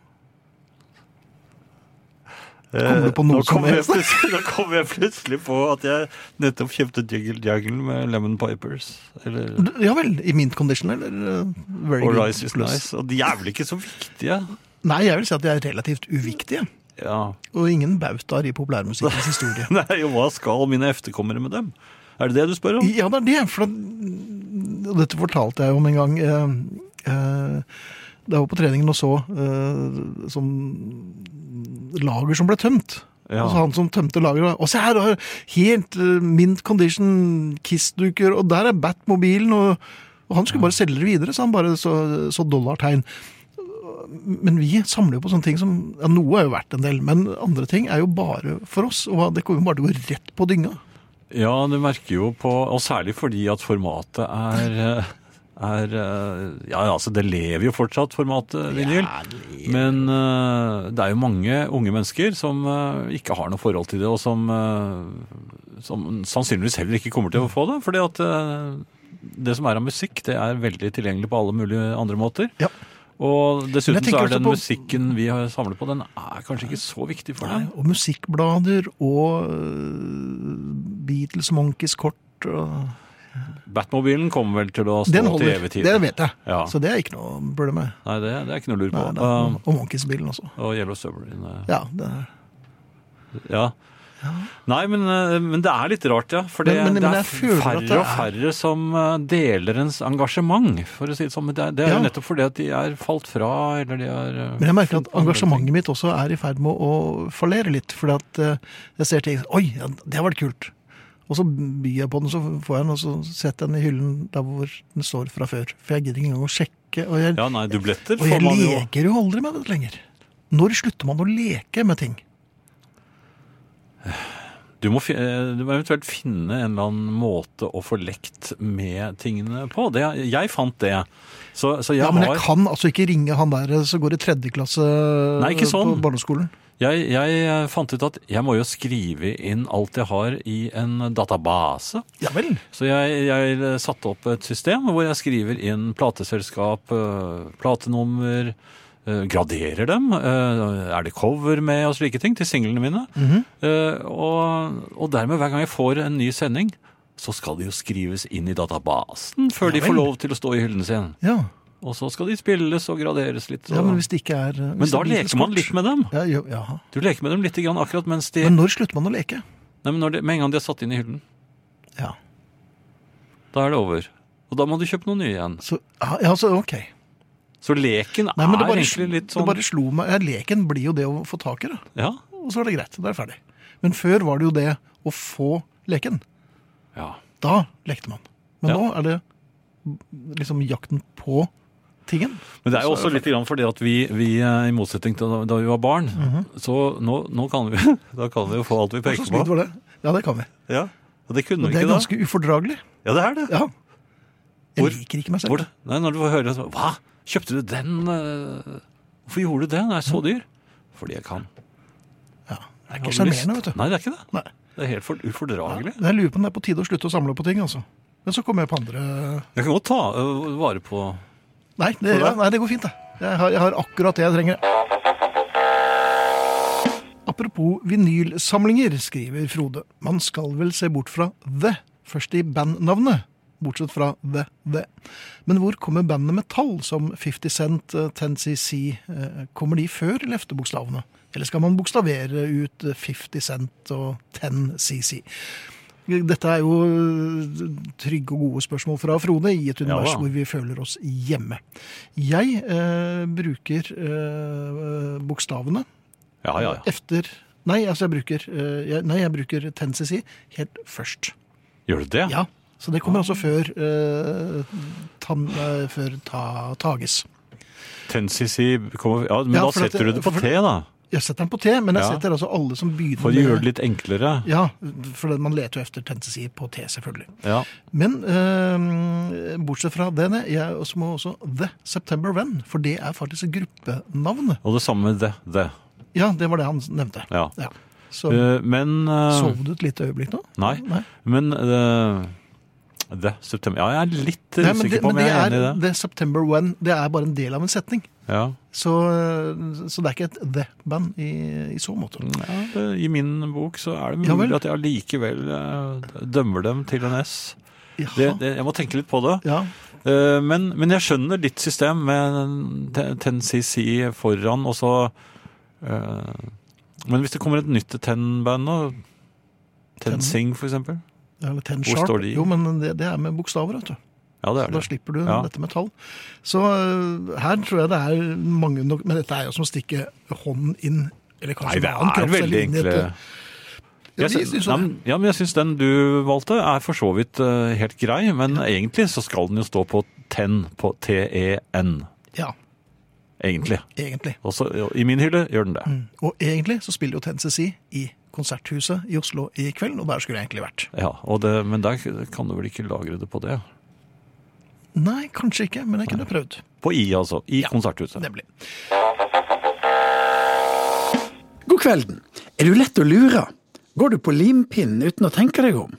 Speaker 2: Kommer du på noe
Speaker 3: Eh, nå kom
Speaker 2: som helst?
Speaker 3: jeg plutselig- Nå kom jeg plutselig på at jeg nettopp kjøpte Juggle Juggle med Lemon Pipers. Eller
Speaker 2: Du- Ja vel, i mint condition, eller? uh, Very
Speaker 3: Og
Speaker 2: good
Speaker 3: Rice is
Speaker 2: plus.
Speaker 3: Nice. Og de er vel ikke så viktige?
Speaker 2: Nei, jeg vil si at de er relativt uviktige.
Speaker 3: Ja.
Speaker 2: Og ingen bautaer i populærmusikkens historie.
Speaker 3: Nei, jo, hva skal mine efterkommere med dem? Er det det du spør om?
Speaker 2: Ja, det er det. For at- og dette fortalte jeg om en gang eh, eh, da jeg var på treningen og så eh, som lager som ble tømt.
Speaker 3: Ja.
Speaker 2: Og så han som tømte lageret. Og se her, har helt eh, mint condition, Kiss-duker, og der er Bat-mobilen. Og, og han skulle bare selge det videre, så han bare så, så dollartegn. Men vi samler jo på sånne ting som ja, Noe er jo verdt en del, men andre ting er jo bare for oss. Og det kommer jo bare til å gå rett på dynga.
Speaker 3: Ja, du merker jo på Og særlig fordi at formatet er eh, er, eh, ja, altså det lever jo fortsatt, formatet vinyl. Men eh, det er jo mange unge mennesker som eh, ikke har noe forhold til det, og som, eh, som sannsynligvis heller ikke kommer til å få det. Fordi at eh, det som er av musikk, det er veldig tilgjengelig på alle mulige andre måter.
Speaker 2: Ja.
Speaker 3: Og
Speaker 2: Men jeg
Speaker 3: dessuten så
Speaker 2: tenker
Speaker 3: er
Speaker 2: også
Speaker 3: den
Speaker 2: på-
Speaker 3: musikken vi har samlet på, den er kanskje ikke så viktig for
Speaker 2: Nei,
Speaker 3: deg.
Speaker 2: og musikkblader og øh, Beatles Monkeys kort. Og...
Speaker 3: Batmobilen kommer vel til å stå
Speaker 2: Den
Speaker 3: til
Speaker 2: holder,
Speaker 3: evig tid.
Speaker 2: det vet jeg.
Speaker 3: Ja.
Speaker 2: Så det er ikke noe problem med.
Speaker 3: Nei, det, det er ikke noe lur på.
Speaker 2: Nei, nei.
Speaker 3: Um,
Speaker 2: Og Monkeys-bilen også.
Speaker 3: og Yellow Submarine. eh,
Speaker 2: Ja, det er.
Speaker 3: Ja. Nei, men, eh, men det er litt rart, ja. For det,
Speaker 2: Men- men-
Speaker 3: det
Speaker 2: men
Speaker 3: er
Speaker 2: jeg føler at
Speaker 3: færre
Speaker 2: det
Speaker 3: og færre som eh, deler ens engasjement, for å si det sånn. Men Det er, det er
Speaker 2: Ja.
Speaker 3: jo nettopp fordi at de er falt fra, eller de er eh,
Speaker 2: Men jeg merker at
Speaker 3: funnet på andre ting.
Speaker 2: engasjementet mitt også er i ferd med å fallere litt. Fordi at eh, jeg ser ting Oi, ja, det har vært kult. Og så byr jeg på den, så får jeg den, og så setter jeg den i hyllen der hvor den står fra før. For jeg gidder ikke engang å sjekke. Og jeg,
Speaker 3: Ja, nei, dubletter
Speaker 2: og
Speaker 3: får
Speaker 2: jeg
Speaker 3: man jo.
Speaker 2: leker jo aldri med det lenger. Når slutter man å leke med ting?
Speaker 3: Du må, fi- eh, du må eventuelt finne en eller annen måte å få lekt med tingene på. Det, jeg fant det. Så, så jeg
Speaker 2: Ja, men jeg
Speaker 3: har
Speaker 2: kan altså ikke ringe han der som går i tredje klasse
Speaker 3: Nei, ikke sånn.
Speaker 2: på barneskolen.
Speaker 3: Jeg, jeg fant ut at jeg må jo skrive inn alt jeg har i en database.
Speaker 2: Ja vel.
Speaker 3: Så jeg, jeg eh, satte opp et system hvor jeg skriver inn plateselskap, øh, platenummer, øh, graderer dem, øh, er det cover med og slike ting til singlene mine.
Speaker 2: Mhm.
Speaker 3: Øh, og, og dermed hver gang jeg får en ny sending, så skal de jo skrives inn i databasen før de
Speaker 2: Ja
Speaker 3: får
Speaker 2: vel.
Speaker 3: lov til å stå i hyllen sin.
Speaker 2: Ja.
Speaker 3: Og så skal de spilles og graderes litt.
Speaker 2: ja,
Speaker 3: og-
Speaker 2: Men hvis det ikke er
Speaker 3: men da leker man litt med dem.
Speaker 2: ja, jo, jaha.
Speaker 3: Du leker med dem litt grann akkurat mens de
Speaker 2: Men når slutter man å leke?
Speaker 3: Nei, men når de, Med en gang de er satt inn i hyllen,
Speaker 2: Ja,
Speaker 3: da er det over. Og da må du kjøpe noen nye igjen.
Speaker 2: så, ja, ja, så ok.
Speaker 3: Så leken
Speaker 2: Nei, men det
Speaker 3: er
Speaker 2: bare,
Speaker 3: egentlig litt sånn
Speaker 2: det bare slo meg ja, Leken blir jo det å få tak i det,
Speaker 3: ja.
Speaker 2: og så er det greit. Da er det ferdig. Men før var det jo det å få leken.
Speaker 3: ja.
Speaker 2: Da lekte man. Men
Speaker 3: Ja.
Speaker 2: nå er det liksom jakten på tingen.
Speaker 3: Men det er jo også litt grann fordi at vi, vi eh, i motsetning til da, da vi var barn,
Speaker 2: Mhm.
Speaker 3: så nå, nå kan vi, da kan vi jo få alt vi
Speaker 2: Og så
Speaker 3: peker
Speaker 2: smidt
Speaker 3: på.
Speaker 2: var det. Ja, det kan vi.
Speaker 3: Ja. Og det kunne vi
Speaker 2: Det
Speaker 3: ikke
Speaker 2: er
Speaker 3: da.
Speaker 2: ganske ufordragelig.
Speaker 3: Ja, det er det.
Speaker 2: Ja. Jeg
Speaker 3: Hvor-
Speaker 2: liker ikke meg selv.
Speaker 3: Hvor, nei, når du får høre så, Hva? Kjøpte du den? eh, Hvorfor gjorde du det? Den er så dyr. Fordi jeg kan.
Speaker 2: Ja, det er ikke
Speaker 3: Jeg hadde lyst.
Speaker 2: sjarmerende, vet du.
Speaker 3: Nei, det er ikke det.
Speaker 2: Nei.
Speaker 3: Det er helt for, ufordragelig.
Speaker 2: Jeg lurer på om det er på tide å slutte å samle på ting, altså. Men så kommer jeg på andre
Speaker 3: Jeg kan godt ta øh, vare på
Speaker 2: Nei, det, ja, nei, det går fint, det. Jeg har, jeg har akkurat det jeg trenger. Apropos vinylsamlinger, skriver Frode. Man skal vel se bort fra The først i bandnavnet. Bortsett fra The The. Men hvor kommer bandene med tall, som 50 Cent, eh, 10cc? eh, Kommer de før eller efter bokstavene? Eller skal man bokstavere ut eh, 50 Cent og 10cc? Dette er jo eh, trygge og gode spørsmål fra Frode i et univers
Speaker 3: da.
Speaker 2: hvor vi føler oss hjemme. Jeg eh, bruker eh, bokstavene
Speaker 3: Ja, ja, ja.
Speaker 2: efter Nei, altså jeg bruker, eh, jeg, nei, jeg bruker 10cc helt først.
Speaker 3: Gjør du det?
Speaker 2: Ja, Så det kommer altså før, eh, tan, eh, før ta, Tages.
Speaker 3: Tensisi kommer Ja, men
Speaker 2: Ja,
Speaker 3: da
Speaker 2: for at-
Speaker 3: setter du det på
Speaker 2: for-
Speaker 3: T, da.
Speaker 2: Jeg setter den på T, men jeg
Speaker 3: Ja.
Speaker 2: setter altså alle som begynner
Speaker 3: For å gjøre
Speaker 2: med-
Speaker 3: det litt enklere.
Speaker 2: Ja, for det- man leter jo etter 10cc på T, selvfølgelig.
Speaker 3: Ja.
Speaker 2: Men eh, bortsett fra det, nei, jeg også må også The September When, for det er faktisk gruppenavnet.
Speaker 3: Og det samme med det. det.
Speaker 2: Ja, det var det han nevnte.
Speaker 3: Ja.
Speaker 2: Ja. Så
Speaker 3: Eh, Men eh,
Speaker 2: sov du et lite øyeblikk nå?
Speaker 3: Nei.
Speaker 2: Nei.
Speaker 3: Men eh, det september Ja, jeg er litt
Speaker 2: Nei, men det,
Speaker 3: usikker på
Speaker 2: men
Speaker 3: om
Speaker 2: det
Speaker 3: jeg er
Speaker 2: er
Speaker 3: enig i det.
Speaker 2: The September When. Det er bare en del av en setning.
Speaker 3: Ja.
Speaker 2: Så, eh, så det er ikke et The-band i, i så måte.
Speaker 3: Ja, det, I min bok så er det
Speaker 2: Ja
Speaker 3: mulig
Speaker 2: vel.
Speaker 3: at jeg allikevel eh, dømmer dem til en S.
Speaker 2: Jaha.
Speaker 3: Det, det, jeg må tenke litt på det.
Speaker 2: Ja.
Speaker 3: Eh, Men, men jeg skjønner ditt system med te- 10cc foran, og så eh, Men hvis det kommer et nytt 10-band nå, 10-sing for eksempel
Speaker 2: Eller Ten
Speaker 3: Hvor
Speaker 2: Sharp.
Speaker 3: står de?
Speaker 2: Jo, men det, det er med bokstaver, vet du.
Speaker 3: Ja, det
Speaker 2: Så
Speaker 3: er
Speaker 2: Da
Speaker 3: det.
Speaker 2: slipper du
Speaker 3: Ja.
Speaker 2: dette med tall. Så øh, her tror jeg det er mange nok Men dette er jo som å stikke hånden inn eller
Speaker 3: Nei,
Speaker 2: kanskje
Speaker 3: det
Speaker 2: en annen
Speaker 3: er
Speaker 2: kroppsdel
Speaker 3: veldig
Speaker 2: inn i et-
Speaker 3: enkle
Speaker 2: Ja,
Speaker 3: Jeg
Speaker 2: vi
Speaker 3: sy-
Speaker 2: synes
Speaker 3: Nei,
Speaker 2: jo det.
Speaker 3: men- Ja, men jeg syns den du valgte er for så vidt eh, helt grei, men egentlig så skal den jo stå på 10 på T-E-N,
Speaker 2: Ja,
Speaker 3: egentlig.
Speaker 2: egentlig. Mm.
Speaker 3: Og så i min hylle gjør den det.
Speaker 2: Og egentlig så spiller jo TNCC i Konserthuset i Oslo i kveld, og der skulle jeg egentlig vært.
Speaker 3: Ja, og det, Men der kan du vel ikke lagre det på det?
Speaker 2: Nei, kanskje ikke, men jeg kunne prøvd.
Speaker 3: På I, altså. I Konserthuset.
Speaker 2: Nemlig.
Speaker 4: God kvelden. Er du lett å lure? Går du på limpinnen uten å tenke deg om?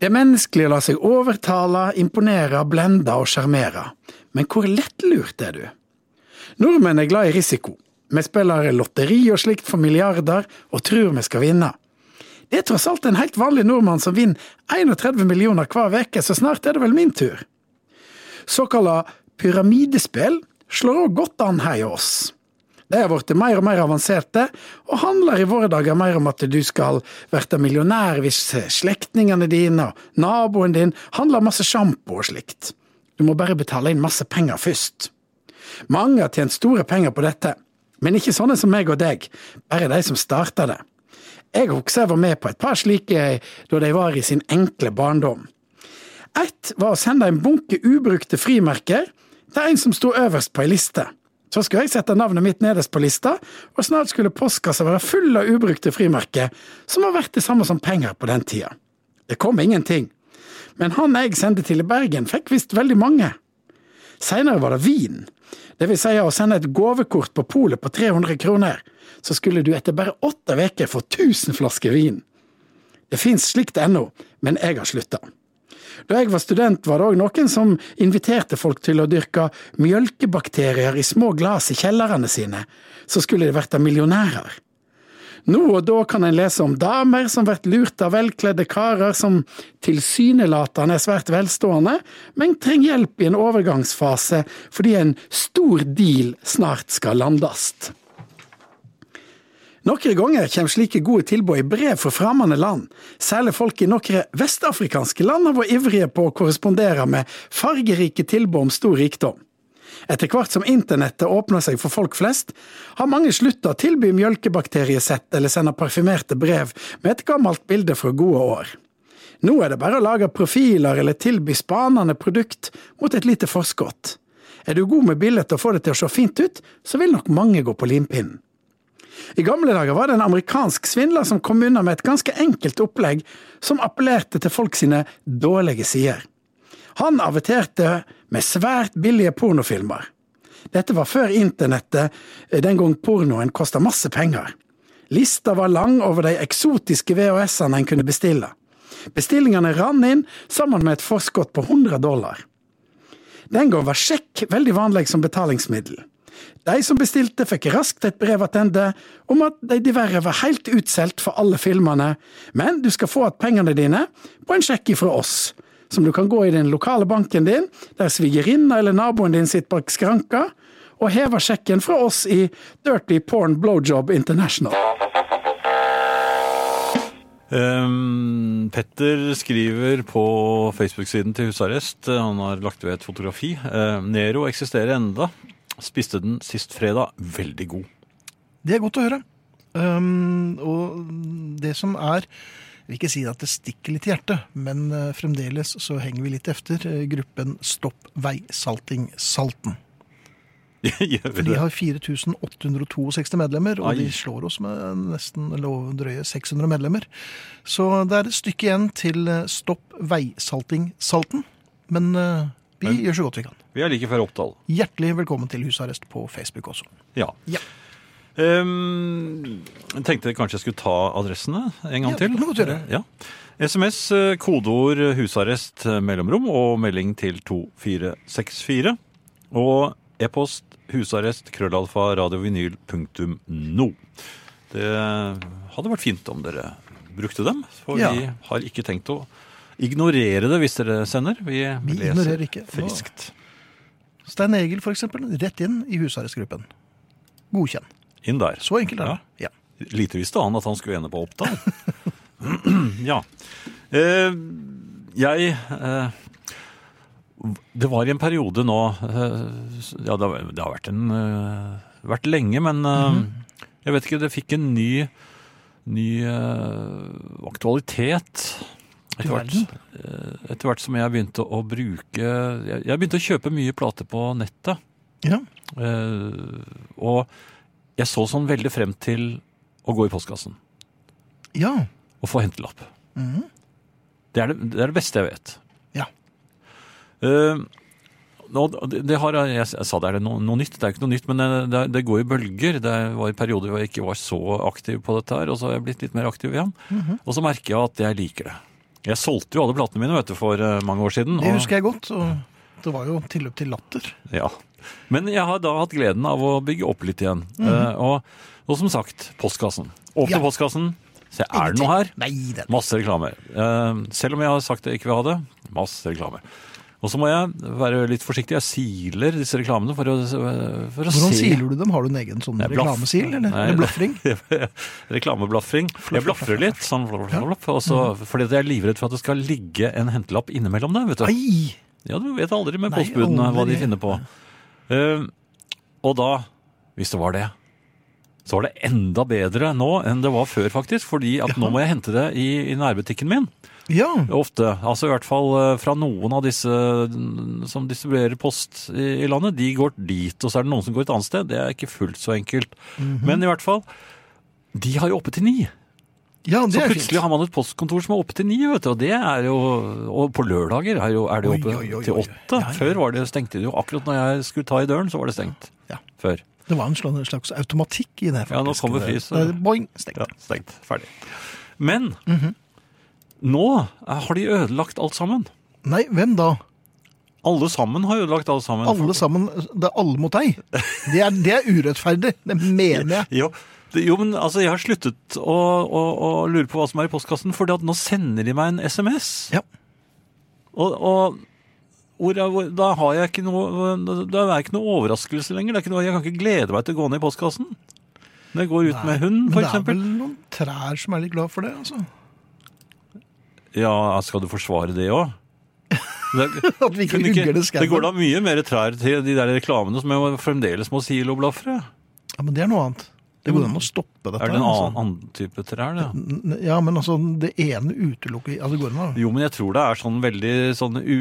Speaker 4: Det er menneskelig å la seg overtale, imponere, blende og sjarmere. Men hvor lettlurt er du? Nordmenn er glad i risiko. Vi spiller lotteri og slikt for milliarder, og tror vi skal vinne. Det er tross alt en helt vanlig nordmann som vinner 31 millioner hver uke, så snart er det vel min tur. Såkalla pyramidespill slår òg godt an her hos oss. De har blitt mer og mer avanserte, og handler i våre dager mer om at du skal verte millionær hvis slektningene dine og naboen din handler masse sjampo og slikt. Du må bare betale inn masse penger først. Mange har tjent store penger på dette, men ikke sånne som meg og deg, bare de som starta det. Jeg husker jeg var med på et par slike da de var i sin enkle barndom. Ett var å sende en bunke ubrukte frimerker til en som sto øverst på ei liste. Så skulle jeg sette navnet mitt nederst på lista, og snart skulle postkassa være full av ubrukte frimerker, som var verdt det samme som penger på den tida. Det kom ingenting. Men han jeg sendte til i Bergen, fikk visst veldig mange. Seinere var det vin. Det vil si å sende et gavekort på polet på 300 kroner. Så skulle du etter bare åtte uker få 1000 flasker vin. Det fins slikt ennå, men jeg har slutta. Da jeg var student, var det òg noen som inviterte folk til å dyrke mjølkebakterier i små glass i kjellerne sine, så skulle de verte millionærer. Nå og da kan en lese om damer som blir lurt av velkledde karer som tilsynelatende er svært velstående, men trenger hjelp i en overgangsfase fordi en stor deal snart skal landast. Noen ganger kommer slike gode tilbud i brev fra fremmede land. Særlig folk i noen vestafrikanske land har vært ivrige på å korrespondere med fargerike tilbud om stor rikdom. Etter hvert som internettet åpner seg for folk flest, har mange slutta å tilby mjølkebakteriesett eller sende parfymerte brev med et gammelt bilde fra gode år. Nå er det bare å lage profiler eller tilby spanende produkt mot et lite forskudd. Er du god med bildet og får det til å se fint ut, så vil nok mange gå på limpinnen. I gamle dager var det en amerikansk svindler som kom unna med et ganske enkelt opplegg som appellerte til folk sine dårlige sider. Han averterte med svært billige pornofilmer. Dette var før internettet, eh, den gang pornoen kosta masse penger. Lista var lang over de eksotiske VHS-ene en kunne bestille. Bestillingene rann inn, sammen med et forskudd på 100 dollar. Den gang var sjekk veldig vanlig som betalingsmiddel. De som bestilte, fikk raskt et brev tilbake om at de diverre var helt utsolgt for alle filmene, men du skal få igjen pengene dine på en sjekk ifra oss, som du kan gå i den lokale banken din, der svigerinna eller naboen din sitter bak skranka, og heve sjekken fra oss i Dirty Porn Blowjob International.
Speaker 3: Ehm, Petter skriver på Facebook-siden til husarrest. eh, Han har lagt ved et fotografi. Ehm, Nero eksisterer enda. Spiste den sist fredag. Veldig god.
Speaker 2: Det er godt å høre. Um, og det som er Jeg vil ikke si at det stikker litt i hjertet, men eh, fremdeles så henger vi litt efter eh, gruppen Stopp veisalting Salten.
Speaker 3: Gjør vi
Speaker 2: De
Speaker 3: det?
Speaker 2: har 4862 medlemmer, og
Speaker 3: Ai.
Speaker 2: de slår oss med nesten lov- drøye 600 medlemmer. Så det er et stykke igjen til eh, Stopp veisalting Salten. Men eh, vi gjør så godt vi kan.
Speaker 3: Vi er like før Oppdal.
Speaker 2: Hjertelig velkommen til husarrest på Facebook også.
Speaker 3: Ja.
Speaker 2: Ja.
Speaker 3: Ehm, jeg tenkte kanskje jeg skulle ta adressene en gang
Speaker 2: Ja, det
Speaker 3: til.
Speaker 2: kan du godt gjøre.
Speaker 3: Ja. SMS, eh, kodeord eh, husarrest, eh, mellomrom og melding til 2464. Og e-post husarrest krøllalfa radiovinyl.no. Det hadde vært fint om dere brukte dem, for
Speaker 2: Ja.
Speaker 3: vi har ikke tenkt å ignorere det hvis dere sender. Vi,
Speaker 2: Vi
Speaker 3: leser
Speaker 2: ignorerer ikke. Nå-
Speaker 3: friskt.
Speaker 2: Stein Egil, for eksempel, rett inn i husarrestgruppen. Godkjenn.
Speaker 3: Inn der.
Speaker 2: Så enkelt er det. Ja.
Speaker 3: Lite visste han at han skulle ende på Oppdal. ja. Eh, jeg eh, Det var i en periode nå eh, Ja, det har, det har vært, en, eh, vært lenge, men eh, jeg vet ikke Det fikk en ny, ny eh, aktualitet. Etter
Speaker 2: Du
Speaker 3: hvert, eh, etter hvert som jeg begynte å bruke jeg, jeg begynte å kjøpe mye plater på nettet.
Speaker 2: Ja.
Speaker 3: Eh, og jeg så sånn veldig frem til å gå i postkassen
Speaker 2: ja.
Speaker 3: og få hentelapp.
Speaker 2: Mhm.
Speaker 3: Det er det, det er det beste jeg vet.
Speaker 2: Ja.
Speaker 3: Eh, nå, det, det har, jeg, jeg sa det er det noe, noe nytt, det er ikke noe nytt, men det, det, det går i bølger. Det var i perioder hvor jeg ikke var så aktiv på dette her, og så har jeg blitt litt mer aktiv igjen.
Speaker 2: Mhm.
Speaker 3: Og så merker jeg at jeg liker det. Jeg solgte jo alle platene mine vet du, for eh, mange år siden.
Speaker 2: Det
Speaker 3: og-
Speaker 2: husker jeg godt. Og det var jo tilløp til latter.
Speaker 3: ja. Men jeg har da hatt gleden av å bygge opp litt igjen. Eh, og, og som sagt, postkassen. Åpne
Speaker 2: Mhm. Ja.
Speaker 3: postkassen. Se, er det noe her?
Speaker 2: Nei, det er
Speaker 3: Masse reklame. Eh, selv om jeg har sagt jeg ikke vil ha det, masse reklame. Og så må jeg være litt forsiktig. Jeg siler disse reklamene for å, for å
Speaker 2: Hvordan
Speaker 3: se.
Speaker 2: siler du dem? Har du en egen sånn
Speaker 3: Nei, blaff.
Speaker 2: reklamesil? Eller,
Speaker 3: Nei,
Speaker 2: eller bløffring?
Speaker 3: Reklameblaffing. Jeg blaffer litt, sånn, flaff, flaff, flaff, og så- fordi jeg er livredd for at det skal ligge en hentelapp innimellom der. vet du.
Speaker 2: Nei!
Speaker 3: Ja, du vet aldri med
Speaker 2: Nei,
Speaker 3: postbudene hva de
Speaker 2: aldri.
Speaker 3: finner på. Eh, og da, hvis det var det, så var det enda bedre nå enn det var før, faktisk. Fordi at nå må jeg hente det i, i nærbutikken min.
Speaker 2: Ja.
Speaker 3: Ofte. Altså i hvert fall eh, fra noen av disse mm, som distribuerer post i i landet. De går dit, og så er det noen som går et annet sted. Det er ikke fullt så enkelt.
Speaker 2: Mhm.
Speaker 3: Men i hvert fall, de har jo oppe til ni.
Speaker 2: ja,
Speaker 3: Så
Speaker 2: det er
Speaker 3: plutselig
Speaker 2: fint.
Speaker 3: har man et postkontor som er oppe til ni, vet du. Og det er jo Og på lørdager er, jo, er det jo
Speaker 2: Oi,
Speaker 3: oppe
Speaker 2: oi, oi,
Speaker 3: til
Speaker 2: oi.
Speaker 3: åtte.
Speaker 2: Ja, ja.
Speaker 3: Før var det, stengte de jo. Akkurat når jeg skulle ta i døren, så var det stengt.
Speaker 2: Ja.
Speaker 3: Før.
Speaker 2: Det var en slags, slags automatikk i det.
Speaker 3: Ja, nå kommer
Speaker 2: Det-
Speaker 3: fryset.
Speaker 2: det- Boing, stengt.
Speaker 3: Ja, stengt. Ferdig. Men
Speaker 2: Mhm.
Speaker 3: nå eh, har de ødelagt alt sammen.
Speaker 2: Nei, hvem da?
Speaker 3: Alle sammen har ødelagt alt sammen.
Speaker 2: Alle sammen. Det er alle mot deg. Det er, det er urettferdig. Det mener jeg.
Speaker 3: Jo, det, jo men altså, jeg har sluttet å, å, å lure på hva som er i postkassen, for nå sender de meg en SMS.
Speaker 2: Ja.
Speaker 3: Og, og hvor er, hvor, da har jeg ikke noe Da er det ikke noe overraskelse lenger. Det er ikke noe, jeg kan ikke glede meg til å gå ned i postkassen. Når jeg går ut med hund,
Speaker 2: Men
Speaker 3: for
Speaker 2: det er vel
Speaker 3: eksempel.
Speaker 2: noen trær som er litt glad for det, altså.
Speaker 3: Ja, skal du forsvare det òg? Det,
Speaker 2: At vi ikke
Speaker 3: kunne
Speaker 2: hugger
Speaker 3: ikke-
Speaker 2: det
Speaker 3: det går
Speaker 2: skauen.
Speaker 3: da mye mer trær til de der reklamene som jeg fremdeles må siloblafre.
Speaker 2: Ja, men det er noe annet. Det går an å stoppe dette.
Speaker 3: Mm. Er det en
Speaker 2: altså.
Speaker 3: annen, annen type trær, det?
Speaker 2: N- Ja, men altså, det ene utelukker altså, det går an, da.
Speaker 3: Jo, men jeg tror det er sånn veldig sånn u,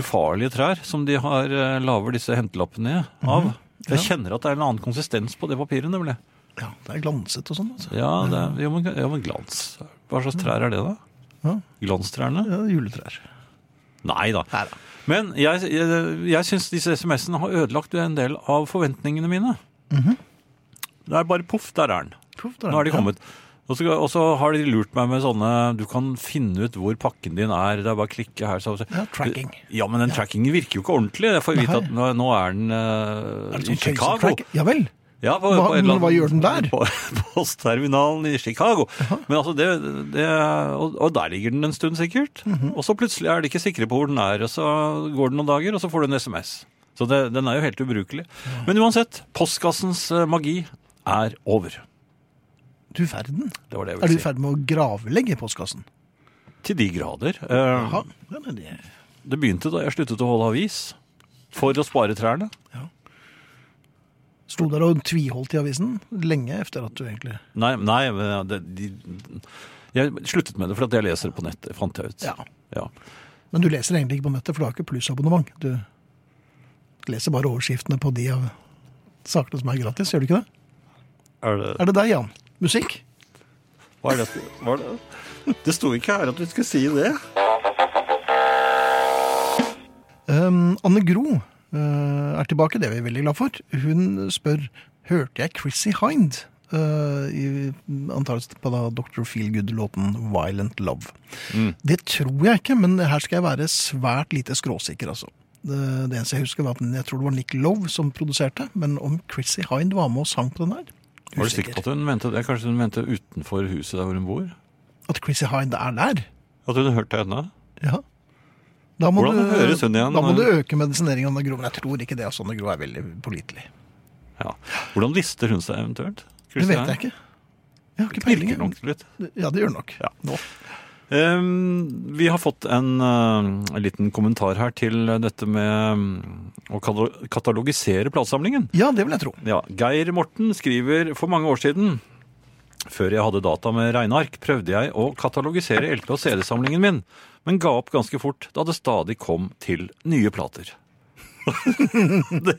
Speaker 3: ufarlige trær som de har eh, laver disse hentelappene av.
Speaker 2: Mhm.
Speaker 3: Jeg kjenner at det er en annen konsistens på det papiret, nemlig.
Speaker 2: Ja, det er glansete og sånn. Altså.
Speaker 3: Ja, det er, jo, men, ja, men glans. Hva slags trær er det, da?
Speaker 2: Ja.
Speaker 3: Glanstrærne?
Speaker 2: Ja, juletrær.
Speaker 3: Nei da.
Speaker 2: Neida.
Speaker 3: Men jeg, jeg, jeg syns disse SMS-ene har ødelagt en del av forventningene mine. Det er bare poff, der er den.
Speaker 2: Puff, Mhm. der er
Speaker 3: Nå er de
Speaker 2: den.
Speaker 3: kommet. Og så, og så har de lurt meg med sånne Du kan finne ut hvor pakken din er. Det er bare å klikke her. Så,
Speaker 2: Ja, tracking.
Speaker 3: Ja, men den trackingen virker jo ikke ordentlig. Jeg får vite
Speaker 2: Nei.
Speaker 3: at nå, nå er den eh,
Speaker 2: Er det
Speaker 3: i
Speaker 2: sånn
Speaker 3: Chicago.
Speaker 2: track? Ja vel.
Speaker 3: Ja, på,
Speaker 2: Hva-
Speaker 3: på et
Speaker 2: men
Speaker 3: eller annet-
Speaker 2: hva gjør den der?
Speaker 3: På postterminalen i Chicago. Men altså, det, det og, og der ligger den en stund sikkert.
Speaker 2: Mhm.
Speaker 3: Og så plutselig er de ikke sikre på hvor den er, og så går det noen dager, og så får du en SMS. Så det, den er jo helt ubrukelig. Men uansett, postkassens eh, magi er over.
Speaker 2: Du verden.
Speaker 3: Det var det jeg
Speaker 2: Er du
Speaker 3: ville
Speaker 2: i
Speaker 3: si.
Speaker 2: ferd med å gravlegge postkassen?
Speaker 3: Til de grader. Eh,
Speaker 2: Ja, ja, men det-
Speaker 3: Det begynte da jeg sluttet å holde avis. For å spare trærne.
Speaker 2: Sto der og tviholdt i avisen lenge etter at du egentlig
Speaker 3: Nei, nei men det, de, jeg sluttet med det fordi at jeg leser på nettet, fant jeg ut.
Speaker 2: Ja.
Speaker 3: ja.
Speaker 2: Men du leser egentlig ikke på nettet, for du har ikke plussabonnement. Du leser bare overskriftene på de av sakene som er gratis, gjør du ikke det?
Speaker 3: Er det,
Speaker 2: Er det deg, Jan? Musikk?
Speaker 3: Hva er det? Hva er det? det sto ikke her at du skulle si det.
Speaker 2: Um, Anne Gro eh, er tilbake, det er vi veldig glad for. Hun spør hørte jeg Chrissy Hind eh, i antakelig på da Dr. Feelgood-låten 'Violent Love'.
Speaker 3: Mm.
Speaker 2: Det tror jeg ikke, men her skal jeg være svært lite skråsikker, altså. Det, det eneste jeg husker, var at den- jeg tror det var Nick Love som produserte, men om Chrissy Hind var med og sang på den der
Speaker 3: Var du sikker på at hun mente det? Kanskje hun mente utenfor huset der hvor hun bor?
Speaker 2: At Chrissy Hind er der?
Speaker 3: At hun hørte henne?
Speaker 2: Ja. Da må
Speaker 3: Hvordan
Speaker 2: du,
Speaker 3: høres hun igjen?
Speaker 2: Da må du øke medisineringen av Anne Gro. Men jeg tror ikke det. Altså, Anne Gro er veldig pålitelig.
Speaker 3: Ja. Hvordan lister hun seg eventuelt?
Speaker 2: Det vet jeg ikke. Jeg har ikke peiling.
Speaker 3: Knirker nok litt.
Speaker 2: Ja, det gjør det nok.
Speaker 3: Ja.
Speaker 2: Nå.
Speaker 3: Ehm, vi har fått en eh, en liten kommentar her til dette med eh, å katalo- katalogisere platesamlingen.
Speaker 2: ja, det vil jeg tro.
Speaker 3: Ja, Geir Morten skriver for mange år siden før jeg hadde data med regneark, prøvde jeg å katalogisere LP- og CD-samlingen min, men ga opp ganske fort da det stadig kom til nye plater. det,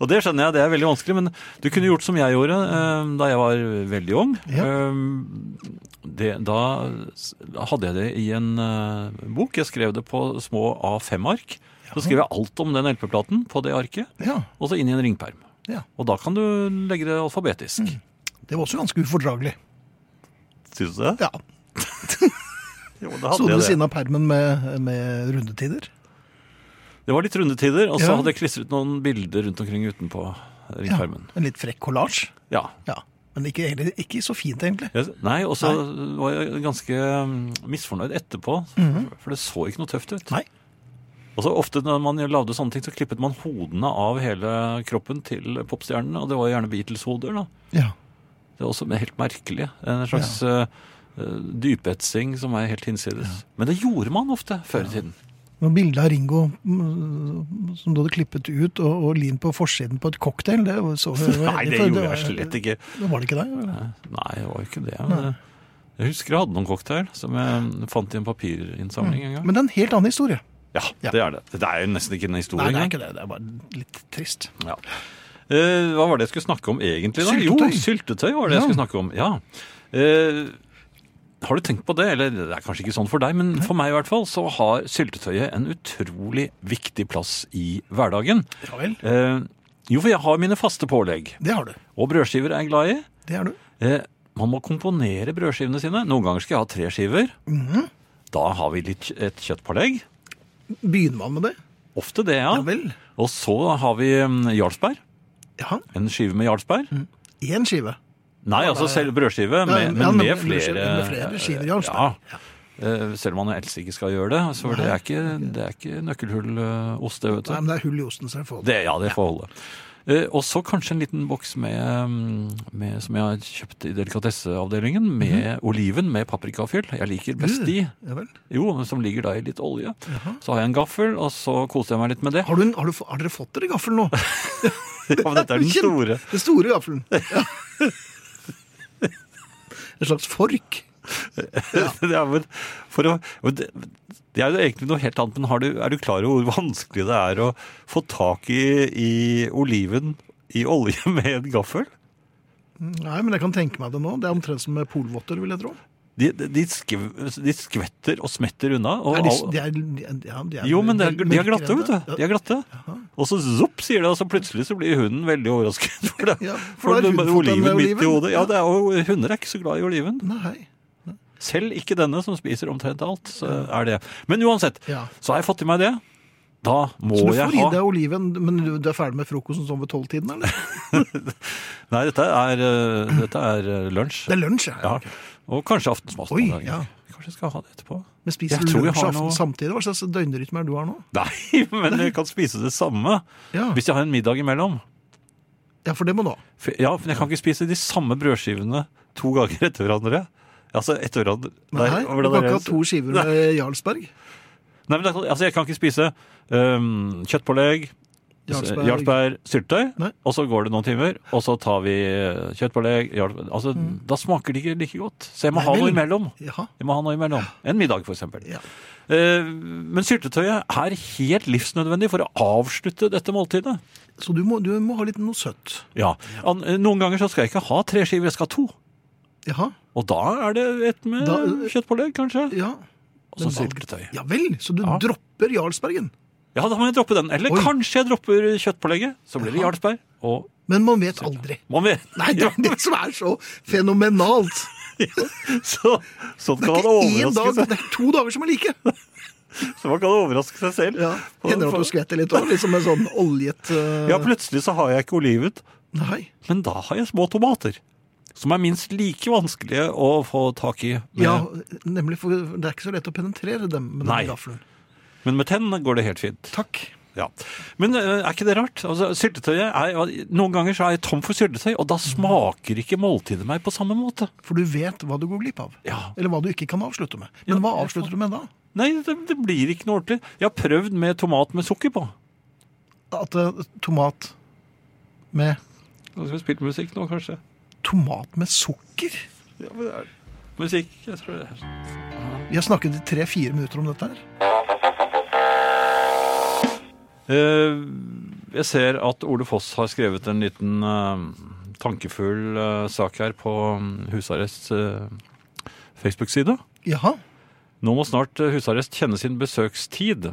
Speaker 3: og det skjønner jeg, det er veldig vanskelig, men du kunne gjort som jeg gjorde eh, da jeg var veldig ung.
Speaker 2: Ja.
Speaker 3: Eh, det, da s- hadde jeg det i en eh, bok. Jeg skrev det på små A5-ark. Så skrev jeg alt om den LP-platen på det arket,
Speaker 2: Ja,
Speaker 3: og så inn i en ringperm.
Speaker 2: ja. Mm.
Speaker 3: Og da kan du legge det alfabetisk.
Speaker 2: Det var også ganske ufordragelig.
Speaker 3: Syns du det?
Speaker 2: Ja,
Speaker 3: Jo, det, hadde
Speaker 2: Sto du ved
Speaker 3: jeg
Speaker 2: siden
Speaker 3: det.
Speaker 2: av permen med, med rundetider?
Speaker 3: det var litt rundetider, og så
Speaker 2: Ja.
Speaker 3: hadde jeg klistret noen bilder rundt omkring utenpå
Speaker 2: Ja.
Speaker 3: ringpermen.
Speaker 2: En litt frekk kollasj?
Speaker 3: Ja.
Speaker 2: Ja. Men ikke, egentlig- ikke så fint, egentlig.
Speaker 3: Jeg, nei, og så var jeg ganske mm, misfornøyd etterpå, for det så ikke noe tøft ut.
Speaker 2: Mhm. Nei.
Speaker 3: Og så ofte når man lagde sånne ting, så klippet man hodene av hele kroppen til popstjernene, og det var jo gjerne Beatles-hoder, da.
Speaker 2: Ja.
Speaker 3: Det er også helt merkelig. En slags eh, eh, dypetsing som er helt hinsides. Men det gjorde man ofte før i tiden.
Speaker 2: Noe bilde av Ringo mm, som du hadde klippet ut og, og limt på forsiden på et cocktail. Det var så,
Speaker 3: Nei, det gjorde jeg slett ikke.
Speaker 2: Det var det ikke deg? eller?
Speaker 3: Nei, det var jo ikke det. Men jeg husker jeg hadde noen cocktail som jeg fant i en papirinnsamling en gang.
Speaker 2: Men det er en helt annen historie.
Speaker 3: ja,
Speaker 2: Mm. Ja.
Speaker 3: det er det. Det er jo nesten ikke en historie
Speaker 2: Nei, det er
Speaker 3: engang.
Speaker 2: ikke det. Det er bare litt trist.
Speaker 3: Ja. Eh, hva var det jeg skulle snakke om egentlig? da? Jo,
Speaker 2: Syltetøy.
Speaker 3: syltetøy var det jeg
Speaker 2: Ja.
Speaker 3: skulle snakke om. Ja. Eh, har du tenkt på det? Eller det er kanskje ikke sånn for deg, men for meg i hvert fall så har syltetøyet en utrolig viktig plass i hverdagen.
Speaker 2: Ja vel.
Speaker 3: Eh, jo, for jeg har mine faste pålegg,
Speaker 2: Det har du.
Speaker 3: og brødskiver er jeg glad i.
Speaker 2: Det er du.
Speaker 3: Eh, man må komponere brødskivene sine. Noen ganger skal jeg ha tre skiver.
Speaker 2: Mhm.
Speaker 3: Da har vi litt, et kjøttpålegg.
Speaker 2: Begynner man med det?
Speaker 3: Ofte det, ja.
Speaker 2: Ja vel.
Speaker 3: og så har vi mm, jarlsberg.
Speaker 2: Ja.
Speaker 3: En skive med jarlsberg.
Speaker 2: Én skive.
Speaker 3: Nei, altså selv
Speaker 2: Mm. Ja,
Speaker 3: brødskive, med,
Speaker 2: ja,
Speaker 3: men
Speaker 2: men
Speaker 3: med
Speaker 2: med
Speaker 3: flere,
Speaker 2: brødskive- med flere skiver jarlsberg.
Speaker 3: Ja. Eh, Selv om man helst ikke skal gjøre det. Så det er ikke, det er ikke nøkkelhullost, det, vet du.
Speaker 2: Nei, men det er hull i osten, så jeg får det.
Speaker 3: Det, ja, det får holde. Eh, og så kanskje en liten boks med, mm, med, som jeg har kjøpt i delikatesseavdelingen,
Speaker 2: Mhm.
Speaker 3: med oliven med paprikafyll. Jeg liker best de.
Speaker 2: Ja vel.
Speaker 3: Jo, men som ligger da i litt olje. Så har jeg en gaffel, og så koser jeg meg litt med det.
Speaker 2: Har, du en, har, du, få- har dere fått dere gaffel nå?
Speaker 3: Ja, men dette er den
Speaker 2: Kjempe-
Speaker 3: store.
Speaker 2: Den store gaffelen. Ja. en slags fork.
Speaker 3: Det er, vel for å, men det, det er jo egentlig noe helt annet, men har du, er du klar over hvor vanskelig det er å få tak i, i oliven i olje med en gaffel?
Speaker 2: Nei, men jeg kan tenke meg det nå. Det er omtrent som med polvotter, vil jeg tro.
Speaker 3: De, de, skv- de skvetter og smetter unna. Og
Speaker 2: Er de,
Speaker 3: all-
Speaker 2: de er, ja, de er
Speaker 3: jo, men det er, de er
Speaker 2: mørkere
Speaker 3: glatte,
Speaker 2: enn
Speaker 3: vet du.
Speaker 2: det.
Speaker 3: De er glatte. Og så zopp, sier det, og så plutselig så blir hunden veldig overrasket. For det,
Speaker 2: Ja, for da
Speaker 3: for
Speaker 2: har
Speaker 3: det,
Speaker 2: hunden fått den
Speaker 3: oliven midt i
Speaker 2: oliven.
Speaker 3: hodet. Ja, det er, og hunder er ikke så glad i oliven.
Speaker 2: Nei.
Speaker 3: Selv ikke denne som spiser omtrent alt, så er det. Men uansett,
Speaker 2: Ja.
Speaker 3: så har jeg fått i meg det. Da må
Speaker 2: Så du
Speaker 3: jeg
Speaker 2: får i deg
Speaker 3: ha
Speaker 2: oliven, men du, du er ferdig med frokosten sånn ved tolvtiden, eller?
Speaker 3: Nei, dette er, eh, dette er eh, lunsj.
Speaker 2: Det er lunsj, ja.
Speaker 3: Ja. Og kanskje aftensmat.
Speaker 2: Oi,
Speaker 3: noen dager.
Speaker 2: ja.
Speaker 3: Kanskje jeg skal ha det etterpå.
Speaker 2: Men spiser
Speaker 3: Jeg
Speaker 2: du
Speaker 3: tror jeg
Speaker 2: lunsj
Speaker 3: har
Speaker 2: aften
Speaker 3: noe-
Speaker 2: samtidig? Hva slags døgnrytme er det du har nå?
Speaker 3: Nei, men jeg kan spise det samme
Speaker 2: Ja.
Speaker 3: hvis jeg har en middag imellom.
Speaker 2: ja, for det må du ha.
Speaker 3: For, ja, for jeg kan ikke spise de samme brødskivene to ganger etter hverandre. Altså etter hverandre
Speaker 2: Nei,
Speaker 3: Nei,
Speaker 2: du
Speaker 3: hvordan
Speaker 2: kan
Speaker 3: er
Speaker 2: ikke ha
Speaker 3: det?
Speaker 2: to skiver med Jarlsberg.
Speaker 3: Nei, men jeg kan- altså, jeg kan ikke spise um, kjøttpålegg,
Speaker 2: Jarlsberg.
Speaker 3: Eh, jarlsberg, syltetøy,
Speaker 2: Nei.
Speaker 3: og så går det noen timer, og så tar vi eh, kjøttpålegg jarlsberg. Altså, Da smaker det ikke like godt. Så jeg må
Speaker 2: Mm. Nei
Speaker 3: ha noe
Speaker 2: vel.
Speaker 3: imellom.
Speaker 2: Jaha.
Speaker 3: Jeg må ha noe imellom. En middag, for eksempel.
Speaker 2: Ja.
Speaker 3: Eh, men syltetøyet er helt livsnødvendig for å avslutte dette måltidet.
Speaker 2: Så du må, du må ha litt noe søtt.
Speaker 3: Ja. An- eh, Noen ganger så skal jeg ikke ha tre skiver, jeg skal ha to.
Speaker 2: Jaha.
Speaker 3: Og da er det et med
Speaker 2: Da- eh,
Speaker 3: kjøttpålegg, kanskje.
Speaker 2: Ja.
Speaker 3: Og så
Speaker 2: Men valg-
Speaker 3: syltetøy.
Speaker 2: Ja vel, så du
Speaker 3: Ja.
Speaker 2: dropper Jarlsbergen.
Speaker 3: Ja, da må jeg droppe den. Eller
Speaker 2: Oi.
Speaker 3: kanskje jeg dropper kjøttpålegget. Så blir det
Speaker 2: Jaha.
Speaker 3: Jarlsberg. Og
Speaker 2: Men man vet aldri.
Speaker 3: man vet.
Speaker 2: Nei, det er det som er så fenomenalt.
Speaker 3: Så, sånn
Speaker 2: Det
Speaker 3: kan
Speaker 2: er
Speaker 3: man
Speaker 2: ikke én
Speaker 3: overraske
Speaker 2: dag,
Speaker 3: seg,
Speaker 2: det er to dager som er like.
Speaker 3: så man kan overraske seg selv.
Speaker 2: Ja. Hender det at du skvetter litt òg? Liksom en sånn oljet eh,
Speaker 3: Ja, plutselig så har jeg ikke oliven.
Speaker 2: Nei.
Speaker 3: Men da har jeg små tomater. Som er minst like vanskelige å få tak i. Med,
Speaker 2: Ja, nemlig, for det er ikke så lett å penetrere dem med
Speaker 3: Nei.
Speaker 2: den gaffelen.
Speaker 3: Men med tennene går det helt fint.
Speaker 2: Takk.
Speaker 3: Ja. Men eh, er ikke det rart? Altså, syltetøyet er, noen ganger så er jeg tom for syltetøy, og da smaker ikke måltidet meg på samme måte.
Speaker 2: For du vet hva du går glipp av.
Speaker 3: Ja.
Speaker 2: Eller hva du ikke kan avslutte med. Men hva avslutter du med da?
Speaker 3: Nei, det, det blir ikke noe ordentlig. Jeg har prøvd med tomat med sukker på.
Speaker 2: At eh, tomat med
Speaker 3: Nå skal vi spille musikk nå, kanskje.
Speaker 2: Tomat med sukker?
Speaker 3: Ja, men det er... Musikk, jeg tror det er.
Speaker 2: Vi har snakket i tre-fire minutter om dette her.
Speaker 3: Eh, jeg ser at Ole Foss har skrevet en liten eh, tankefull eh, sak her på mm, Husarrests eh, Facebook-side.
Speaker 2: Jaha.
Speaker 3: Nå må snart eh, husarrest kjenne sin besøkstid.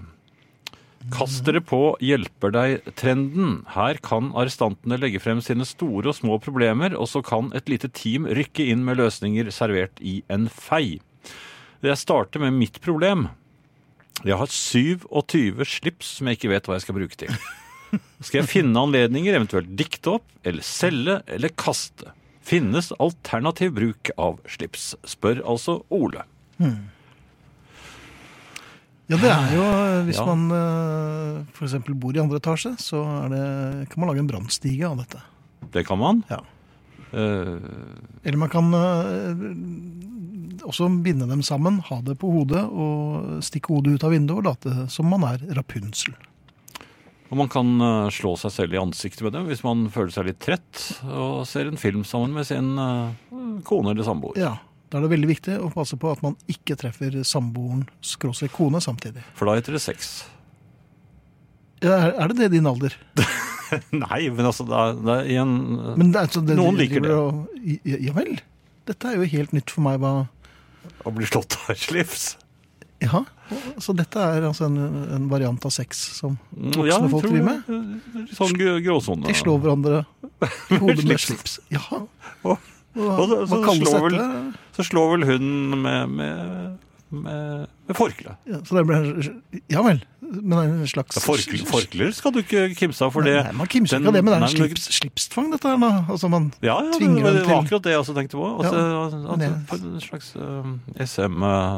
Speaker 3: Kast dere på hjelper deg-trenden. Her kan arrestantene legge frem sine store og små problemer, og så kan et lite team rykke inn med løsninger servert i en fei. Jeg starter med mitt problem. Jeg har 27 slips som jeg ikke vet hva jeg skal bruke til. Skal jeg finne anledninger, eventuelt dikte opp, eller selge, eller kaste? Finnes alternativ bruk av slips? Spør altså Ole.
Speaker 2: Ja, det er jo eh, Hvis
Speaker 3: Ja.
Speaker 2: man eh, for eksempel bor i andre etasje, så er det, kan man lage en brannstige av dette.
Speaker 3: Det kan man.
Speaker 2: Ja.
Speaker 3: Eh,
Speaker 2: Eller man kan eh, også binde dem sammen, ha det på hodet og stikke hodet ut av vinduet og late som man er Rapunsel.
Speaker 3: og man kan eh, slå seg selv i ansiktet med dem hvis man føler seg litt trett og ser en film sammen med sin eh, kone eller samboer.
Speaker 2: Ja, Da er det veldig viktig å passe på at man ikke treffer samboeren skråstrek kone samtidig.
Speaker 3: For da heter det sex.
Speaker 2: Ja, Er, er det det i din alder?
Speaker 3: Nei, men altså det er, det er i en eh,
Speaker 2: Men det er, altså, det,
Speaker 3: Noen liker
Speaker 2: driver Og, ja, ja vel. Dette er jo helt nytt for meg. Hva
Speaker 3: eh, Å bli slått av et slips.
Speaker 2: Ja, Så dette er altså en, en variant av sex som voksne
Speaker 3: Mm, Ja, jeg
Speaker 2: folk
Speaker 3: tror
Speaker 2: driver med?
Speaker 3: det er Sånn gr- gråsone.
Speaker 2: De slår hverandre i hodet med
Speaker 3: Slips.
Speaker 2: slips. Jaha.
Speaker 3: Og-
Speaker 2: Hva,
Speaker 3: og så-
Speaker 2: hva
Speaker 3: så
Speaker 2: kalles
Speaker 3: slår vel-
Speaker 2: dette?
Speaker 3: Så slår vel hun med, med, med, med forkle.
Speaker 2: Ja, så det ble en, ja vel. Men det er en slags
Speaker 3: Forkle, forkler skal du ikke kimse av, for det
Speaker 2: Nei, man kimser ikke
Speaker 3: den-
Speaker 2: av det, men det er en
Speaker 3: nei, men-
Speaker 2: slips, slipstvang, dette her. da. Altså, man,
Speaker 3: Ja, ja det,
Speaker 2: Tvinger
Speaker 3: var-
Speaker 2: dem
Speaker 3: det var
Speaker 2: til-
Speaker 3: akkurat det jeg også tenkte på. At,
Speaker 2: Ja,
Speaker 3: at,
Speaker 2: men
Speaker 3: at,
Speaker 2: jeg-
Speaker 3: en slags eh,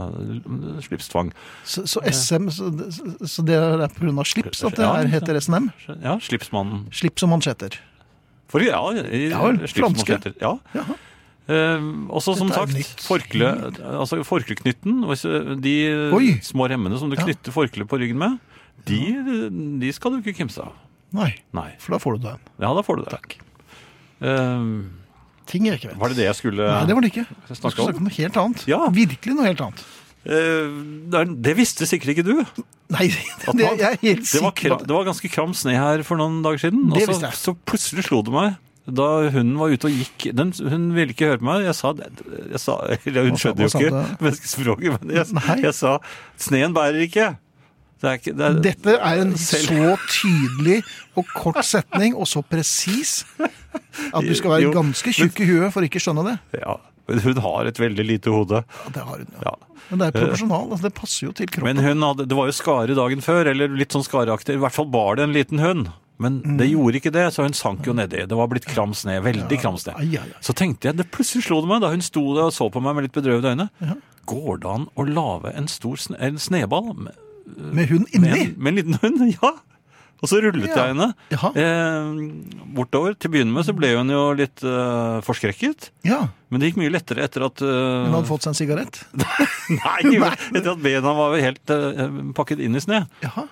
Speaker 3: SM-slipstvang.
Speaker 2: så, så SM Så, så det er pga. slips at det
Speaker 3: Ja,
Speaker 2: her
Speaker 3: ja.
Speaker 2: heter SNM?
Speaker 3: ja, slipsmannen.
Speaker 2: Slips og mansjetter.
Speaker 3: For, ja, i,
Speaker 2: Ja vel,
Speaker 3: slipsmannen
Speaker 2: franske.
Speaker 3: heter- Ja.
Speaker 2: Jaha.
Speaker 3: Ehm, også som
Speaker 2: Dette er
Speaker 3: sagt,
Speaker 2: nytt.
Speaker 3: forkle, altså forkleknytten, hvis, eh, de eh,
Speaker 2: Oi.
Speaker 3: små remmene som du
Speaker 2: Ja.
Speaker 3: knytter forkleet på ryggen med, de, de skal du ikke kimse av.
Speaker 2: Nei,
Speaker 3: Nei.
Speaker 2: for da får du den.
Speaker 3: Ja, da får du det. Ehm,
Speaker 2: Ting jeg ikke vet.
Speaker 3: var det det jeg skulle
Speaker 2: Nei, det var det ikke.
Speaker 3: jeg
Speaker 2: Vi
Speaker 3: snakke
Speaker 2: skal
Speaker 3: om?
Speaker 2: snakke om noe helt annet.
Speaker 3: Ja.
Speaker 2: Virkelig noe helt annet.
Speaker 3: Ehm, det er- Det visste sikkert ikke du.
Speaker 2: Nei, det,
Speaker 3: At man-
Speaker 2: jeg er helt
Speaker 3: Det var,
Speaker 2: sikker
Speaker 3: kra,
Speaker 2: på.
Speaker 3: det var ganske kram sne her for noen dager siden.
Speaker 2: Det
Speaker 3: og så,
Speaker 2: visste jeg.
Speaker 3: så plutselig slo det meg. da hunden var ute og gikk den, Hun ville ikke høre på meg. Jeg sa, jeg sa eller Hun
Speaker 2: Hva sa-
Speaker 3: skjønner jo
Speaker 2: hva sa
Speaker 3: ikke
Speaker 2: du?
Speaker 3: menneskespråket, men
Speaker 2: Nei.
Speaker 3: jeg, jeg sa 'sneen bærer ikke'. Det er ikke det er,
Speaker 2: Dette er en
Speaker 3: Selv-
Speaker 2: så tydelig og kort setning, og så presis, at du skal være
Speaker 3: Jo,
Speaker 2: ganske tjukk i huet for ikke skjønne det.
Speaker 3: ja, men hun har et veldig lite hode.
Speaker 2: Ja, det har hun, ja.
Speaker 3: Ja. Eh,
Speaker 2: Men det er proporsjonal. Altså, det passer jo til kroppen.
Speaker 3: Men hun hadde, det var jo skare dagen før, eller litt sånn skareaktig. I hvert fall var det en liten hund. Men
Speaker 2: Mm.
Speaker 3: det gjorde ikke det, så hun sank jo nedi. Det var blitt kram sne. Veldig kram sne.
Speaker 2: Ai, ai, ai.
Speaker 3: Så tenkte jeg, det plutselig slo det meg da hun sto der og så på meg med litt bedrøvde øyne. Går det an å lage en stor sne, en sneball med,
Speaker 2: Med hun
Speaker 3: med,
Speaker 2: inni.
Speaker 3: en, med en liten hund? Ja! Og så rullet
Speaker 2: Ja.
Speaker 3: jeg henne
Speaker 2: Jaha.
Speaker 3: eh, bortover. Til å begynne med så ble hun jo litt eh, forskrekket.
Speaker 2: Ja.
Speaker 3: Men det gikk mye lettere etter at eh,
Speaker 2: Hun hadde fått seg en sigarett.
Speaker 3: Nei, etter at bena var helt eh, pakket inn i sne.
Speaker 2: Jaha.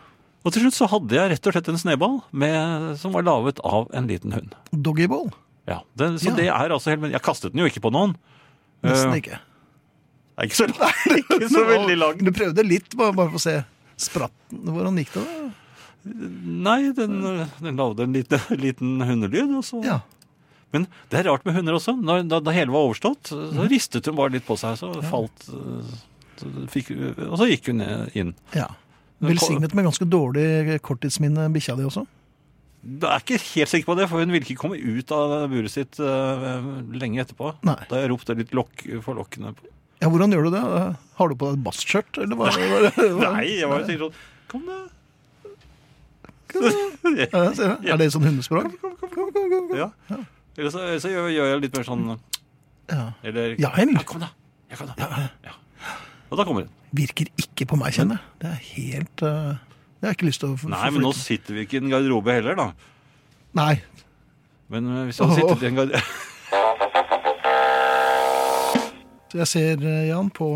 Speaker 3: Og til slutt så hadde jeg rett og slett en sneball med, som var laget av en liten hund.
Speaker 2: Doggyball.
Speaker 3: Ja, det, så
Speaker 2: Ja.
Speaker 3: det er altså helt, men Jeg kastet den jo ikke på noen.
Speaker 2: Nesten
Speaker 3: Eh,
Speaker 2: ikke.
Speaker 3: Det er ikke så, ikke så veldig langt.
Speaker 2: Du prøvde litt, bare, bare for å se. Spratt den? Hvordan gikk det? da?
Speaker 3: Nei, den, eh, den lagde en liten, liten hundelyd. Og så.
Speaker 2: Ja.
Speaker 3: Men det er rart med hunder også. Da, da, da hele var overstått, så ristet hun bare litt på seg. Så falt eh, så fikk, Og så gikk hun eh, inn.
Speaker 2: ja. Velsignet med ganske dårlig korttidsminne, bikkja di også.
Speaker 3: Jeg er ikke helt sikker på det, for hun ville ikke komme ut av buret sitt eh, lenge etterpå.
Speaker 2: Nei.
Speaker 3: Da jeg ropte litt lokk, forlokkende på
Speaker 2: Ja, Hvordan gjør du det? Har du på deg et basskjørt? eller hva- hva- hva-
Speaker 3: Nei, jeg var jo sikkert sånn Kom, da.
Speaker 2: Ja, ser du. Er det sånn hundespråk?
Speaker 3: Ja. Eller så, så gjør, gjør jeg litt mer sånn
Speaker 2: Ja.
Speaker 3: Eller
Speaker 2: Ja, vel.
Speaker 3: kom, da. Ja, kom, da. Ja. Og da kommer hun.
Speaker 2: Virker ikke på meg, kjenner jeg. Det er helt eh, Det har jeg ikke lyst til å f-
Speaker 3: Nei, men nå
Speaker 2: forflytte.
Speaker 3: sitter vi ikke i en garderobe heller, da.
Speaker 2: Nei.
Speaker 3: Men eh, hvis jeg hadde
Speaker 2: Åh.
Speaker 3: sittet i en garderobe
Speaker 2: Så Jeg ser, eh, Jan, på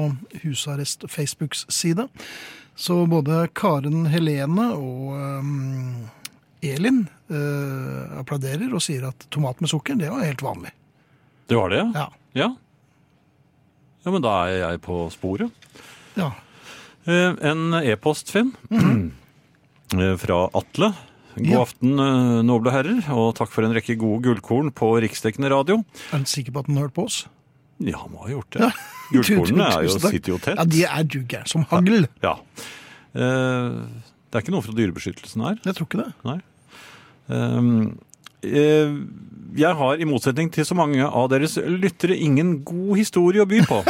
Speaker 2: Husarrest Facebooks side. Så både Karen Helene og eh, Elin eh, applauderer og sier at tomat med sukker, det var helt vanlig.
Speaker 3: Det var det, ja.
Speaker 2: Ja.
Speaker 3: ja? Ja, men da er jeg på sporet.
Speaker 2: ja.
Speaker 3: Eh, En e-post, Finn, Eh, fra Atle. God
Speaker 2: Mhm. Ja.
Speaker 3: aften, eh, noble herrer, og takk for en rekke gode gullkorn på riksdekkende radio.
Speaker 2: Er du sikker på at den hørte på oss?
Speaker 3: Ja, han må ha gjort det. Gullkornene er jo,
Speaker 2: Tusen takk.
Speaker 3: sitter jo tett.
Speaker 2: Ja, de er du gæren som hagl.
Speaker 3: Ja. Eh, det er ikke noe fra dyrebeskyttelsen her.
Speaker 2: Jeg tror ikke det.
Speaker 3: Nei. Ehm, eh, jeg har, i motsetning til så mange av deres lyttere, ingen god historie å by på.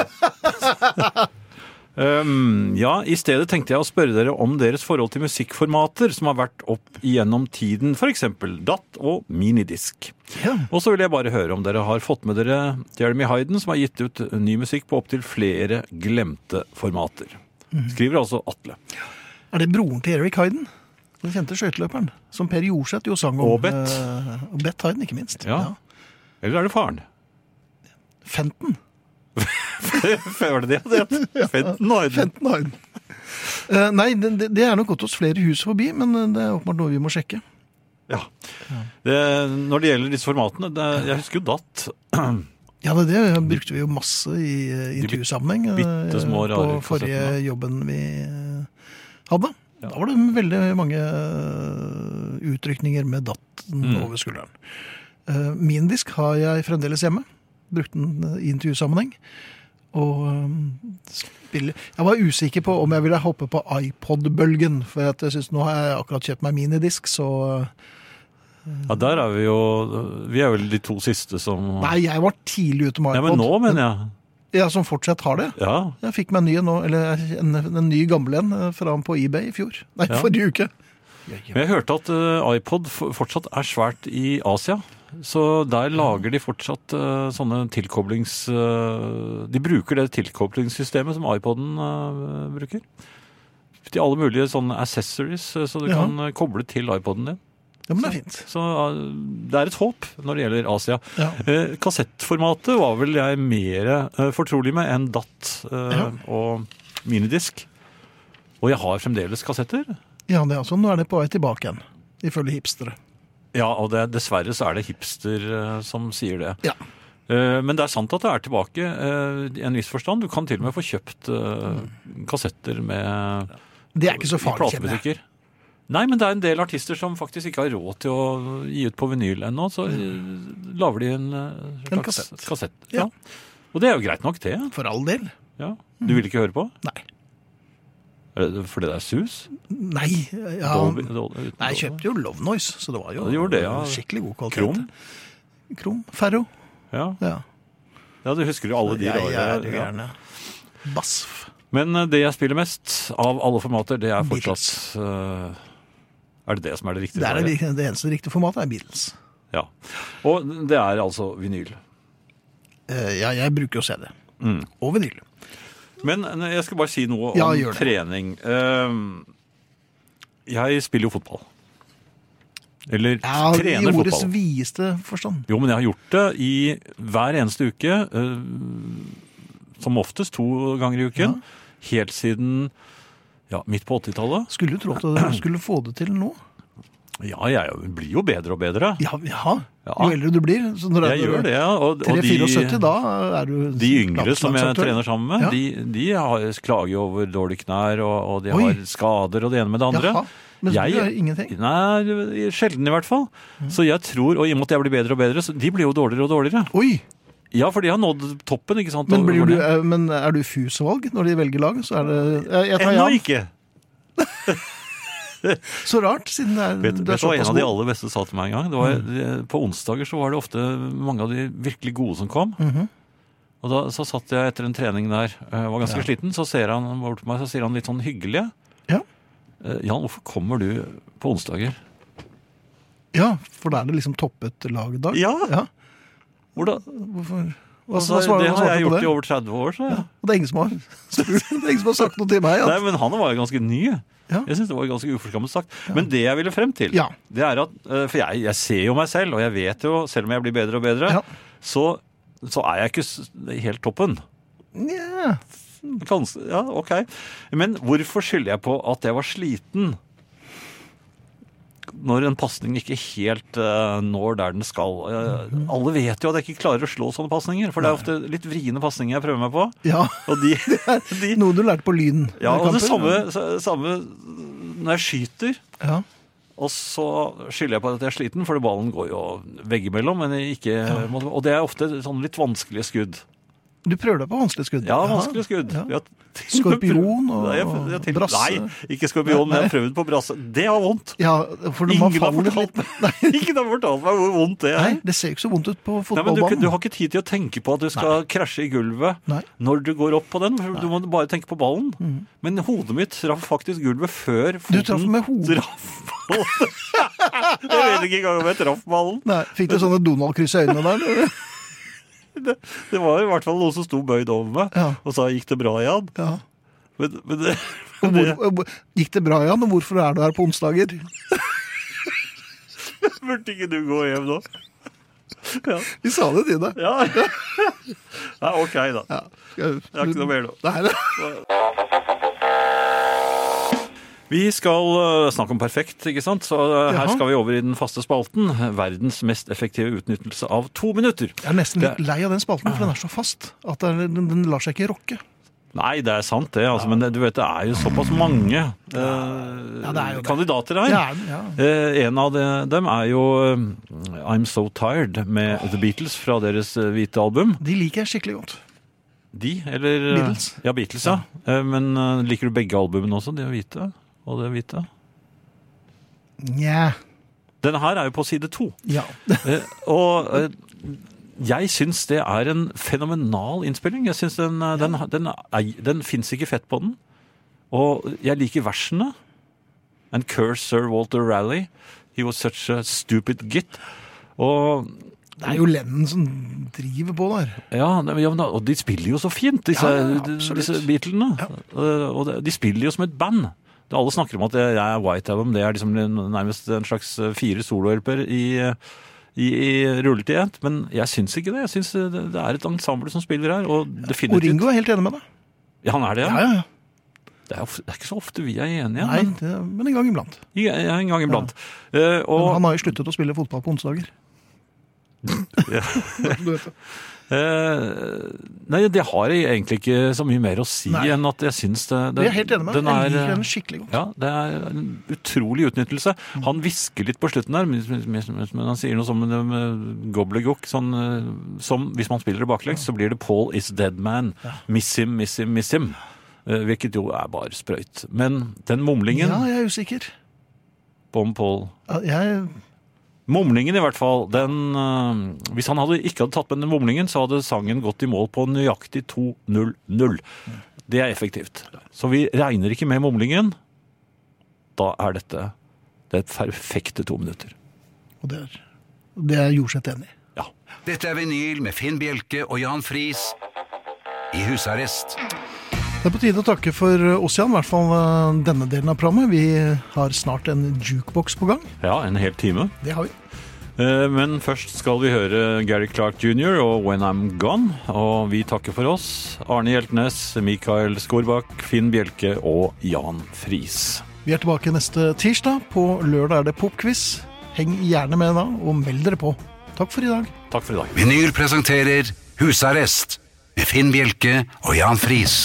Speaker 3: Ehm, ja, i stedet tenkte jeg å spørre dere om deres forhold til musikkformater som har vært opp igjennom tiden, f.eks. DAT og minidisk.
Speaker 2: Ja.
Speaker 3: Og så vil jeg bare høre om dere har fått med dere Jeremy Hayden, som har gitt ut ny musikk på opptil flere glemte formater. Skriver altså Atle.
Speaker 2: Er det broren til Eric Hayden? Den kjente skøyteløperen. Som Per Jorseth jo sang om.
Speaker 3: Og Bett.
Speaker 2: eh, og Bett Hayden, ikke minst.
Speaker 3: Ja. Eller er det faren?
Speaker 2: Fenton.
Speaker 3: Var det det han het? Fenton Hayden.
Speaker 2: Fenton Hayden. Eh, nei, det, det- det er nok gått oss flere hus forbi, men eh, det er åpenbart noe vi må sjekke.
Speaker 3: Ja. Det, når det gjelder disse formatene det, Jeg husker jo DAT.
Speaker 2: Ja, det, er det brukte vi jo masse i eh,
Speaker 3: De bit-
Speaker 2: intervjusammenheng eh,
Speaker 3: bittesmå, rare
Speaker 2: på forrige
Speaker 3: kassettene.
Speaker 2: jobben vi eh, hadde. Da var det veldig mange eh, utrykninger med datten
Speaker 3: Mm.
Speaker 2: over skulderen. Eh, Min disk har jeg fremdeles hjemme. Brukte den eh, i intervjusammenheng. Og eh, spiller Jeg var usikker på om jeg ville hoppe på iPod-bølgen, for at jeg synes nå har jeg akkurat kjøpt meg minidisk, så eh,
Speaker 3: Ja, der er vi jo Vi er vel de to siste som
Speaker 2: Nei, jeg var tidlig ute med
Speaker 3: Ja,
Speaker 2: iPod.
Speaker 3: men nå, mener jeg.
Speaker 2: Ja, som fortsatt har det.
Speaker 3: Ja.
Speaker 2: Jeg fikk meg en ny nå, eller en, en ny gammel en eh, fra på eBay i fjor. Nei,
Speaker 3: Ja.
Speaker 2: forrige uke.
Speaker 3: Men jeg hørte at eh, iPod f- fortsatt er svært i Asia. Så der lager de fortsatt eh, sånne tilkoblings... eh, de bruker det tilkoblingssystemet som iPoden eh, bruker. Til alle mulige sånne accessories, eh, så du
Speaker 2: Ja.
Speaker 3: kan eh, koble til iPoden din.
Speaker 2: Ja, men det er fint.
Speaker 3: Så eh, det er et håp når det gjelder Asia.
Speaker 2: Ja.
Speaker 3: Eh, kassettformatet var vel jeg mer eh, fortrolig med enn DAT eh,
Speaker 2: Ja.
Speaker 3: og minidisk. Og jeg har fremdeles kassetter.
Speaker 2: Ja, det er altså, Nå er det på vei tilbake igjen, ifølge hipstere.
Speaker 3: Ja, og det, dessverre så er det hipster eh, som sier det.
Speaker 2: Ja.
Speaker 3: Eh, men det er sant at det er tilbake eh, i en viss forstand. Du kan til og med få kjøpt eh, kassetter med
Speaker 2: Det er ikke så
Speaker 3: i
Speaker 2: farlig, kjenner jeg.
Speaker 3: platebutikker. Nei, men det er en del artister som faktisk ikke har råd til å gi ut på vinyl ennå. Så eh, lager de en eh,
Speaker 2: Mm. En
Speaker 3: slags
Speaker 2: kassett.
Speaker 3: Ja.
Speaker 2: Ja.
Speaker 3: Og det er jo greit nok, det.
Speaker 2: For all del.
Speaker 3: Ja. Du
Speaker 2: Mm.
Speaker 3: vil ikke høre på?
Speaker 2: Nei.
Speaker 3: Er det Fordi det er sus?
Speaker 2: Nei, ja.
Speaker 3: Dolby- Dolby- uten
Speaker 2: Nei, jeg
Speaker 3: Dolby?
Speaker 2: kjøpte jo Love Noise, så det var jo
Speaker 3: Ja, du gjorde det, ja.
Speaker 2: skikkelig god kvalitet.
Speaker 3: Krom?
Speaker 2: Krom. Ferro.
Speaker 3: Ja.
Speaker 2: Ja.
Speaker 3: ja, du husker jo alle de
Speaker 2: jeg
Speaker 3: rare
Speaker 2: er jo
Speaker 3: ja.
Speaker 2: gjerne Bass.
Speaker 3: Men eh, det jeg spiller mest av alle formater, det er fortsatt
Speaker 2: Beatles.
Speaker 3: eh, Er det det som er det riktige?
Speaker 2: Det, er
Speaker 3: svaret?
Speaker 2: det, det eneste riktige formatet er Beatles.
Speaker 3: Ja. Og det er altså vinyl.
Speaker 2: Eh, ja, jeg bruker jo CD.
Speaker 3: Mm.
Speaker 2: Og vinyl.
Speaker 3: Men eh, jeg skal bare si noe om
Speaker 2: Ja, gjør det.
Speaker 3: trening. Eh, jeg spiller jo fotball. Eller
Speaker 2: Ja, I
Speaker 3: trener
Speaker 2: ordets
Speaker 3: fotball.
Speaker 2: videste forstand.
Speaker 3: Jo, men jeg har gjort det i hver eneste uke. eh, som oftest to ganger i uken. Helt siden ja, midt på 80-tallet.
Speaker 2: Skulle du tro at du skulle få det til nå?
Speaker 3: Ja, jeg blir jo bedre og bedre.
Speaker 2: Ja, ja.
Speaker 3: Ja.
Speaker 2: jo eldre du blir. Så når
Speaker 3: Jeg gjør det. Og, og de,
Speaker 2: 3-74, da er du
Speaker 3: de yngre som jeg
Speaker 2: landslagsaktuell.
Speaker 3: trener sammen med,
Speaker 2: Ja.
Speaker 3: de, de har, klager jo over dårlige knær, og, og de
Speaker 2: Oi.
Speaker 3: har skader og det ene med det andre.
Speaker 2: Jaha, men
Speaker 3: Jeg-
Speaker 2: du gjør ingenting? Mm.
Speaker 3: Nei, sjelden i hvert fall. Så jeg tror, og i og med at jeg blir bedre og bedre, så de blir jo dårligere og dårligere.
Speaker 2: Oi!
Speaker 3: Ja, for de har nådd toppen, ikke sant?
Speaker 2: Men,
Speaker 3: Og-
Speaker 2: blir
Speaker 3: hvor
Speaker 2: du,
Speaker 3: det-
Speaker 2: eh, men er du FUS-valg når de velger lag? Så er det eh, jeg, jeg tar
Speaker 3: Ennå
Speaker 2: Jan.
Speaker 3: ikke!
Speaker 2: Så rart, siden det er,
Speaker 3: Vet vet
Speaker 2: det
Speaker 3: du
Speaker 2: er
Speaker 3: hva en
Speaker 2: såpass
Speaker 3: av de
Speaker 2: god. Mm.
Speaker 3: aller beste sa til meg en gang? Det var, det- På onsdager så var det ofte mange av de virkelig gode som kom.
Speaker 2: Mm-hmm.
Speaker 3: Og da så satt jeg etter en trening der, eh, var ganske sliten, så ser han bort på meg, så sier han litt sånn hyggelig.
Speaker 2: Ja.
Speaker 3: Eh, Jan, hvorfor kommer du på onsdager?
Speaker 2: ja, for da er det liksom toppet lagdag?
Speaker 3: Ja.
Speaker 2: ja.
Speaker 3: Hvordan?
Speaker 2: Hvorfor? Hva, hva
Speaker 3: Altså,
Speaker 2: svarer
Speaker 3: det
Speaker 2: hva
Speaker 3: har
Speaker 2: svarte
Speaker 3: jeg
Speaker 2: du på
Speaker 3: gjort
Speaker 2: det?
Speaker 3: i over 30 år, så jeg.
Speaker 2: Og det er ingen som har spurt. Det er ingen som har sagt noe til meg.
Speaker 3: Nei,
Speaker 2: At,
Speaker 3: men han var jo ganske ny.
Speaker 2: Ja.
Speaker 3: Jeg synes det var ganske uforskammet sagt. Men det jeg ville frem til,
Speaker 2: Ja.
Speaker 3: det er at eh, For jeg, jeg ser jo meg selv, og jeg vet jo, selv om jeg blir bedre og bedre,
Speaker 2: Ja.
Speaker 3: så, så er jeg ikke s- helt toppen.
Speaker 2: Nja.
Speaker 3: Kans- ja, ok. Men hvorfor skylder jeg på at jeg var sliten? Når en pasning ikke helt eh, når der den skal. Eh, alle vet jo at jeg ikke klarer å slå sånne pasninger, for det er ofte litt vriene pasninger jeg prøver meg på.
Speaker 2: ja.
Speaker 3: Og de, de
Speaker 2: Noe du lærte på Lyden.
Speaker 3: Ja, og det
Speaker 2: kamper.
Speaker 3: samme, sa- samme når jeg skyter,
Speaker 2: Ja.
Speaker 3: og så skylder jeg på at jeg er sliten, for ballen går jo veggimellom, men jeg ikke Og det er ofte sånn litt vanskelige skudd.
Speaker 2: Du prøver deg på vanskelige skudd.
Speaker 3: Ja,
Speaker 2: Jaha.
Speaker 3: vanskelige skudd.
Speaker 2: Ja.
Speaker 3: Jeg har til-
Speaker 2: Skorpion og-
Speaker 3: Nei, jeg, jeg, til-
Speaker 2: brasse.
Speaker 3: Nei, ikke skorpion, men jeg har prøvd på brasse. Det var vondt.
Speaker 2: Ja, for når man
Speaker 3: Ingen har
Speaker 2: faller
Speaker 3: fortalt
Speaker 2: litt
Speaker 3: meg, Ingen har fortalt meg hvor vondt det
Speaker 2: Nei,
Speaker 3: er.
Speaker 2: det ser jo ikke så vondt ut på
Speaker 3: Nei, men du,
Speaker 2: fotballbanen.
Speaker 3: du har ikke tid til å tenke på at du skal krasje i gulvet
Speaker 2: Nei. Mm.
Speaker 3: når du går opp på den. for Du må bare tenke på ballen. Men hodet mitt traff faktisk gulvet før foten
Speaker 2: Du traff med hodet?
Speaker 3: traff ballen. jeg vet ikke engang om jeg traff ballen.
Speaker 2: Nei, Fikk du sånne Donald-kryss i øynene der? eller?
Speaker 3: Det, det var i hvert fall noen som sto bøyd over meg
Speaker 2: Ja.
Speaker 3: og sa 'gikk det bra, Jan?'
Speaker 2: Ja.
Speaker 3: Men, men det,
Speaker 2: Og hvor, og hvor- gikk det bra, Jan? Og hvorfor er du her på onsdager?
Speaker 3: burde ikke du gå hjem nå? Ja.
Speaker 2: Vi sa det til deg.
Speaker 3: ja. Nei, OK, da.
Speaker 2: Ja. Skal,
Speaker 3: Jeg har ikke noe mer nå.
Speaker 2: Nei, nei.
Speaker 3: Vi skal eh, snakke om perfekt, ikke sant? Så eh, her
Speaker 2: Jaha.
Speaker 3: skal vi over i den faste spalten. Verdens mest effektive utnyttelse av to minutter.
Speaker 2: Jeg er nesten litt lei av den spalten, for den er så fast at det er- den, den lar seg ikke rokke.
Speaker 3: Nei, det er sant det, altså, men det- du vet, det er jo såpass mange eh, Mm,
Speaker 2: det er jo det.
Speaker 3: kandidater her.
Speaker 2: Ja, ja.
Speaker 3: Eh, en av de, dem er jo eh, I'm So Tired med The Beatles fra deres eh, hvite album.
Speaker 2: De liker jeg skikkelig godt.
Speaker 3: De, eller eh,
Speaker 2: Beatles.
Speaker 3: Ja, Beatles, ja. Eh, men eh, liker du begge albumene også, de hvite og det hvite?
Speaker 2: Nja.
Speaker 3: Denne her er jo på side to.
Speaker 2: Ja.
Speaker 3: Eh, Og eh, jeg syns det er en fenomenal innspilling. Jeg synes Den, eh, den, den, ei- den fins ikke fett på den. Og jeg liker versene. And curse sir Walter Raleigh. He was such a stupid git. Og,
Speaker 2: Det er jo Lennon som driver på der.
Speaker 3: ja, men- ja, men da- og de spiller jo så fint, disse,
Speaker 2: Ja, ja, absolutt.
Speaker 3: disse Beatlene. Eh, Og de- de spiller jo som et band. Det- Alle snakker om at det er White Album. Det er liksom en- nærmest en slags eh, fire solohjelper i, i, i rulletid. ett. Men jeg syns ikke det. Jeg syns eh, det det er et ensemble som spiller her. Og
Speaker 2: Og
Speaker 3: definitivt
Speaker 2: Ringo er helt enig med deg.
Speaker 3: Ja, han er det, ja.
Speaker 2: ja, ja.
Speaker 3: Det, er, of- det er ikke så ofte vi er enige,
Speaker 2: Nei,
Speaker 3: men
Speaker 2: det, men en gang iblant.
Speaker 3: ja, ja, en gang iblant. Eh,
Speaker 2: Men
Speaker 3: og
Speaker 2: han har jo sluttet å spille fotball på onsdager.
Speaker 3: Ja.
Speaker 2: Du vet det.
Speaker 3: Eh, nei, det har jeg egentlig ikke så mye mer å si
Speaker 2: Nei.
Speaker 3: enn at jeg syns det, det
Speaker 2: Det er jeg helt enig med.
Speaker 3: den
Speaker 2: deg. Jeg
Speaker 3: er- eh,
Speaker 2: liker den skikkelig godt.
Speaker 3: Ja, det er en utrolig utnyttelse. Han hvisker litt på slutten der, men- men men han sier noe som en gobblegook, sånn, eh, som hvis man spiller det baklengs, så blir det Paul is dead man. Miss him, miss him, miss him. Eh, Hvilket jo er bare sprøyt. Men den mumlingen
Speaker 2: Ja, jeg er usikker.
Speaker 3: på om Paul
Speaker 2: Ja, Jeg,
Speaker 3: Mumlingen i hvert fall, den eh, Hvis han hadde ikke hadde tatt med den mumlingen, så hadde sangen gått i mål på nøyaktig 2-0-0. Det er effektivt. Så vi regner ikke med mumlingen. Da er dette det perfekte to minutter.
Speaker 2: og det er, det er Jorseth enig i.
Speaker 3: Ja.
Speaker 1: Dette er vinyl med Finn Bjelke og Jan Friis i husarrest.
Speaker 2: Det er på tide å takke for oss, Jan. I hvert fall eh, denne delen av programmet. Vi har snart en jukebox på gang.
Speaker 3: ja, en hel time.
Speaker 2: Det har vi.
Speaker 3: Eh, Men først skal vi høre Gary Clark jr. og When I'm Gone. Og vi takker for oss. Arne Hjeltnes, Mikael Skorbakk, Finn Bjelke og Jan Friis.
Speaker 2: Vi er tilbake neste tirsdag. På lørdag er det popquiz. Heng gjerne med da, og meld dere på. Takk for i dag.
Speaker 3: Takk for i dag.
Speaker 1: Vinyl presenterer Husarrest med Finn Bjelke og Jan Friis.